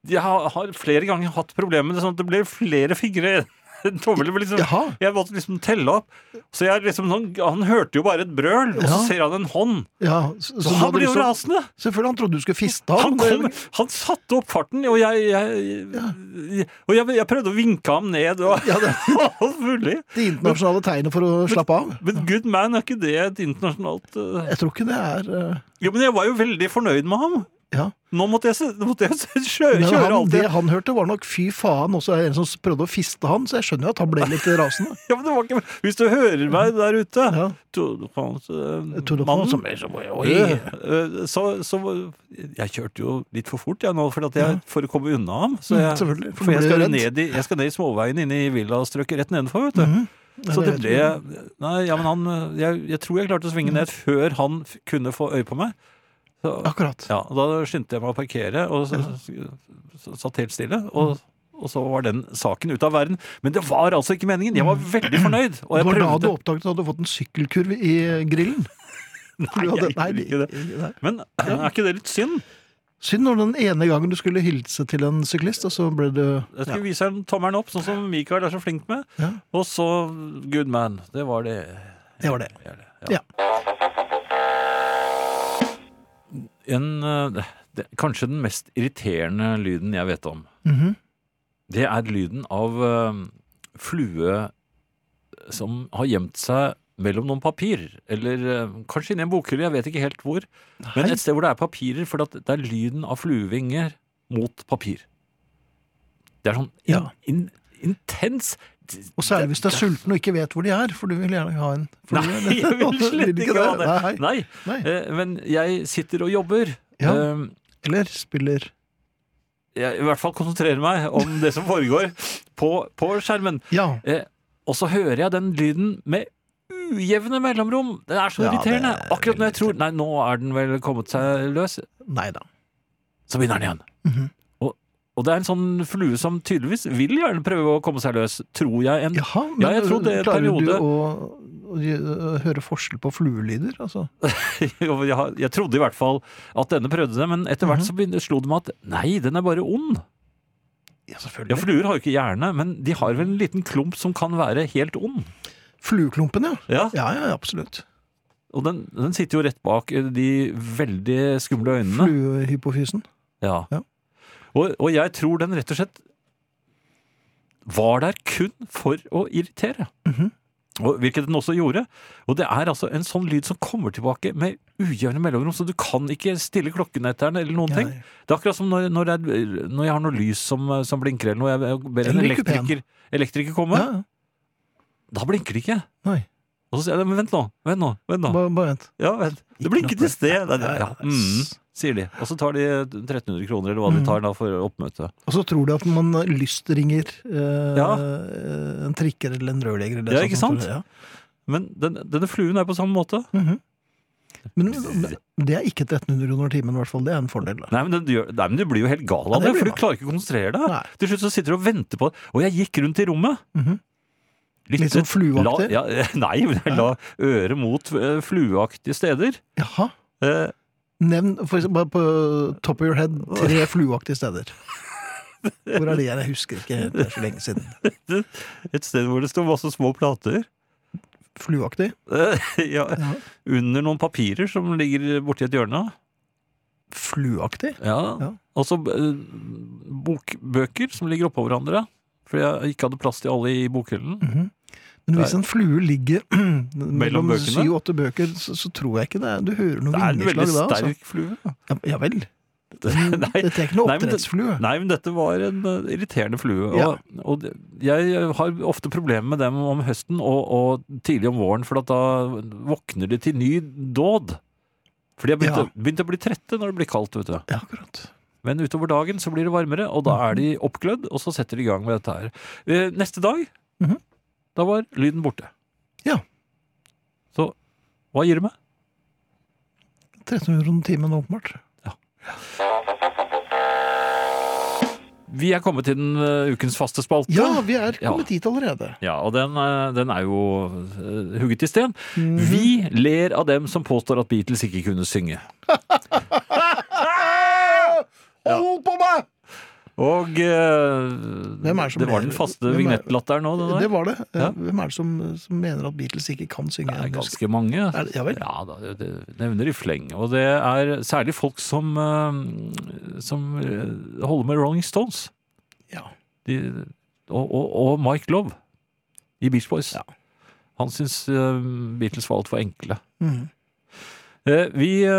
S3: Jeg har, har flere ganger hatt problemer med det, sånn at det ble flere fingre. Tommelen ble liksom
S2: Jaha.
S3: Jeg måtte liksom telle opp. Så jeg liksom, han, han hørte jo bare et brøl, og
S2: Ja.
S3: så ser han en hånd.
S2: Ja, så,
S3: Så
S2: så
S3: han
S2: hadde
S3: blir jo
S2: liksom-
S3: rasende!
S2: Selvfølgelig, han trodde du skulle fiste av.
S3: Han,
S2: men det-
S3: kom, han satte opp farten, og jeg, jeg, og jeg, jeg prøvde å vinke ham ned. Og,
S2: Ja, det,
S3: alt mulig.
S2: det internasjonale tegnet for å slappe av.
S3: Men good man, er ikke det et internasjonalt eh,
S2: Jeg tror ikke det er eh,
S3: Jo, men jeg var jo veldig fornøyd med ham.
S2: Ja.
S3: Nå måtte jeg, se- nå måtte jeg se- kjøre,
S2: Men
S3: kjøre
S2: han,
S3: alt
S2: det
S3: det.
S2: han hørte, var nok 'fy faen', og så er det en som prøvde å fiste han, så jeg skjønner jo at han ble litt rasende.
S3: Ja, men det var ikke, hvis du hører meg der ute
S2: Ja.
S3: to- du faen, så-
S2: Tror du på han
S3: mannen,
S2: som er så- oi.
S3: eh, eh, så, så Jeg kjørte jo litt for fort jeg, nå, for, at jeg, for å komme unna ham. Så
S2: Mm,
S3: jeg,
S2: selvfølgelig, for
S3: for jeg,
S2: du ble
S3: skal
S2: redd.
S3: ned i, jeg skal ned i småveien inne i villastrøket rett nedenfor. vet du.
S2: Mhm. Ja,
S3: Så Mm. det
S2: vet Mm.
S3: ble
S2: vi.
S3: Nei, ja, men han eh, jeg, jeg tror jeg klarte å svinge ned før han f kunne få øye på meg. Så,
S2: Akkurat.
S3: ja, og da skyndte jeg meg å parkere og så, så, satt helt stille. Og, og så var den saken ute av verden. Men det var altså ikke meningen! Jeg var veldig fornøyd. Og
S2: Mm. Det
S3: jeg
S2: var da du
S3: prøvde.
S2: oppdaget at du hadde fått en sykkelkurv i grillen. Nei,
S3: jeg gjorde ikke Men er ikke det litt synd?
S2: Synd når den ene gangen du skulle hilse til en syklist, og så ble du
S3: Jeg skulle vise ham tommelen opp, sånn som Michael er så flink med.
S2: Ja.
S3: Og så good man. Det var det.
S2: Det var det. Ja.
S3: En, eh, det, kanskje den mest irriterende lyden jeg vet om.
S2: Mhm.
S3: Det er lyden av eh, flue som har gjemt seg mellom noen papir. Eller eh, kanskje inni en bokhylle, jeg vet ikke helt hvor. Men et sted hvor det er papirer, for at det er lyden av fluevinger mot papir. Det er sånn in,
S2: Ja.
S3: in, intens
S2: Og særlig hvis du er sulten og ikke vet hvor de er, for du vil gjerne ha en flue.
S3: Nei, jeg vil slett ikke ha det.
S2: Nei.
S3: Nei.
S2: Nei.
S3: Eh, Men jeg sitter og jobber.
S2: Ja.
S3: Eh,
S2: Eller spiller
S3: Jeg i hvert fall konsentrerer meg om det som foregår på, på skjermen.
S2: Ja.
S3: Eh, og så hører jeg den lyden med ujevne mellomrom. Det er så
S2: Ja, det er
S3: irriterende. Akkurat når jeg
S2: veldig
S3: tror Nei, nå er den vel kommet seg løs.
S2: Nei da.
S3: Så begynner den igjen.
S2: Mhm.
S3: og, og det er en sånn flue som tydeligvis vil gjerne prøve å komme seg løs, tror jeg. En,
S2: Jaha, men
S3: Ja, jeg tror det er en
S2: klarer du
S3: periode.
S2: å, å, gjø- høre forskjell på fluelyder? Altså?
S3: jeg, har- jeg trodde i hvert fall at denne prøvde det, men etter hvert så begynte, slo det meg at nei, den er bare ond.
S2: Ja,
S3: Ja,
S2: selvfølgelig.
S3: Fluer har jo ikke hjerne, men de har vel en liten klump som kan være helt ond.
S2: Flueklumpen, ja.
S3: Ja,
S2: Ja, ja, absolutt.
S3: Og den, den sitter jo rett bak eh, de veldig skumle øynene.
S2: Fluehypofysen.
S3: Ja.
S2: Ja.
S3: Og, og jeg tror den rett og slett var der kun for å irritere.
S2: Mhm.
S3: og, hvilket den også gjorde. Og det er altså en sånn lyd som kommer tilbake med ujevne mellomrom, så du kan ikke stille klokken etter den eller noen ting.
S2: Nei.
S3: Det er akkurat som når, når, jeg, når jeg har noe lys som, som blinker, eller noe, jeg- jeg ber en
S2: Eller i kupeen.
S3: elektriker, elektriker komme,
S2: Ja, ja.
S3: da blinker det ikke.
S2: Nei.
S3: Og så sier jeg, men vent nå, vent nå, vent nå.
S2: Bare, bare vent.
S3: Ja, vent. Det blinket i sted. Det, det- ja.
S2: Ja, ja.
S3: Mm, sier de. Og så tar de 1300 kroner, eller hva
S2: Mm.
S3: de tar da for oppmøte.
S2: Og så tror du at man lystringer eh,
S3: Ja.
S2: en trikker eller en rørlegger. eller
S3: Ja,
S2: sånt
S3: ikke
S2: som
S3: sant?
S2: tror det,
S3: Men den, denne fluen er på samme måte.
S2: Ja. Mhm. Men men det er ikke 1300 kroner timen, i hvert fall. Det er en fordel. Da.
S3: Nei, men, den, gjør- nei, men du blir jo helt gal av
S2: Ja,
S3: det,
S2: det
S3: for
S2: blir
S3: du klarer ikke å konsentrere deg.
S2: Nei.
S3: Til slutt så sitter du og venter på det. Og jeg gikk rundt i rommet.
S2: Mhm. Litt sånn flueaktig?
S3: La, ja, nei, men jeg la øret mot eh, flueaktige steder.
S2: Jaha.
S3: Eh,
S2: Nevn for eksempel, bare på top of your head tre flueaktige steder. Hvor er de her? Jeg husker ikke helt, det er så lenge siden.
S3: et sted hvor det står masse små plater.
S2: Flueaktig?
S3: Eh, ja,
S2: Ja.
S3: under noen papirer som ligger borti et hjørne.
S2: Flueaktig?
S3: Ja.
S2: Ja.
S3: Og så eh, bokbøker som ligger oppå hverandre. Fordi jeg ikke hadde plass til alle i bokhyllen.
S2: Mhm. Men hvis en flue ligger mellom
S3: bøkene?
S2: syv-åtte bøker, så, så tror jeg ikke det. er- Du hører noe
S3: Det er en veldig
S2: vingeslag da. Altså. Mm.
S3: sterk flue.
S2: Ja, ja vel.
S3: Nei,
S2: Dette er ikke noe
S3: Nei, men det-
S2: oppdrettsflue.
S3: nei, men dette var en eh, irriterende flue. Og,
S2: Ja.
S3: og det- jeg har ofte problemer med dem om høsten og, og tidlig om våren, for at da våkner de til ny dåd. Fordi jeg begynte,
S2: Ja.
S3: begynte å bli trette når det blir kaldt. vet du.
S2: Ja, akkurat.
S3: Men utover dagen så blir det varmere, og da er de oppglødd, og så setter de i gang med dette her. Eh, Neste dag,
S2: Mhm.
S3: da var lyden borte.
S2: Ja.
S3: Så hva gir det meg?
S2: 1300 kroner timen, åpenbart.
S3: Vi er kommet til den eh, ukens faste spalte.
S2: Ja, vi er
S3: Ja.
S2: kommet hit allerede.
S3: Ja, og den, eh, den er jo eh, hugget i sten.
S2: Mhm.
S3: Vi ler av dem som påstår at Beatles ikke kunne synge.
S2: Hold på meg!
S3: Og eh,
S2: Hvem er det som
S3: det var
S2: ler?
S3: den faste
S2: Hvem er-
S3: vignettlatteren nå. Det, der.
S2: Det var det.
S3: Ja.
S2: Hvem er det som, som mener at Beatles ikke kan synge?
S3: Det er
S2: Jeg husker-
S3: ganske mange.
S2: Er det- ja vel.
S3: Ja, da, det- det nevner i fleng. Og det er særlig folk som, eh, som eh, holder med Rolling Stones.
S2: Ja.
S3: De, og, og, og Mike Love i Beach Boys.
S2: Ja.
S3: Han syns eh, Beatles var altfor enkle.
S2: Mhm.
S3: Eh, Vi, eh,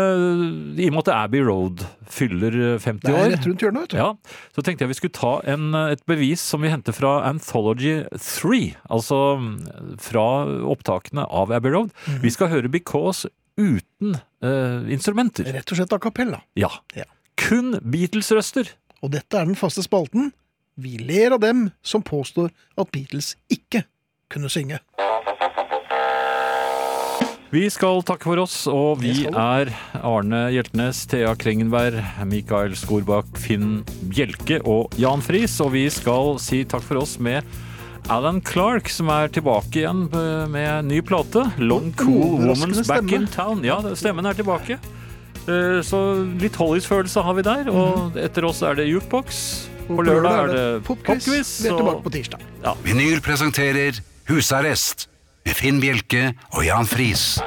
S3: I og med at Abbey Road fyller eh, 50
S2: Det er
S3: år
S2: rett rundt hjørnet, vet du.
S3: ja, så tenkte jeg vi skulle ta en, eh, et bevis som vi henter fra Anthology 3, altså mm, fra opptakene av Abbey Road.
S2: Mm-hmm.
S3: Vi skal høre Because uten eh, instrumenter.
S2: Rett og slett a cappella.
S3: Ja.
S2: Ja.
S3: Kun Beatles-røster.
S2: Og dette er den faste spalten. Vi ler av dem som påstår at Beatles ikke kunne synge.
S3: Vi skal takke for oss, og vi
S2: Det
S3: er Arne Hjeltnes, Thea Krengenberg, Mikael Skorbakk, Finn Bjelke og Jan Friis. Og vi skal si takk for oss med Alan Clark, som er tilbake igjen eh, med ny plate. Long Cool
S2: Uh, Overraskende
S3: Woman's Back
S2: stemme.
S3: in Town. Ja, stemmen er tilbake. Eh, Så litt Hollies-følelse har vi der.
S2: Mhm.
S3: Og etter oss er det Jukebox. På lørdag er det
S2: popquiz.
S3: Popquiz.
S2: Vi er tilbake
S3: og-
S2: på tirsdag.
S1: Vinyl presenterer Husarrest med Finn Bjelke og Jan Friis.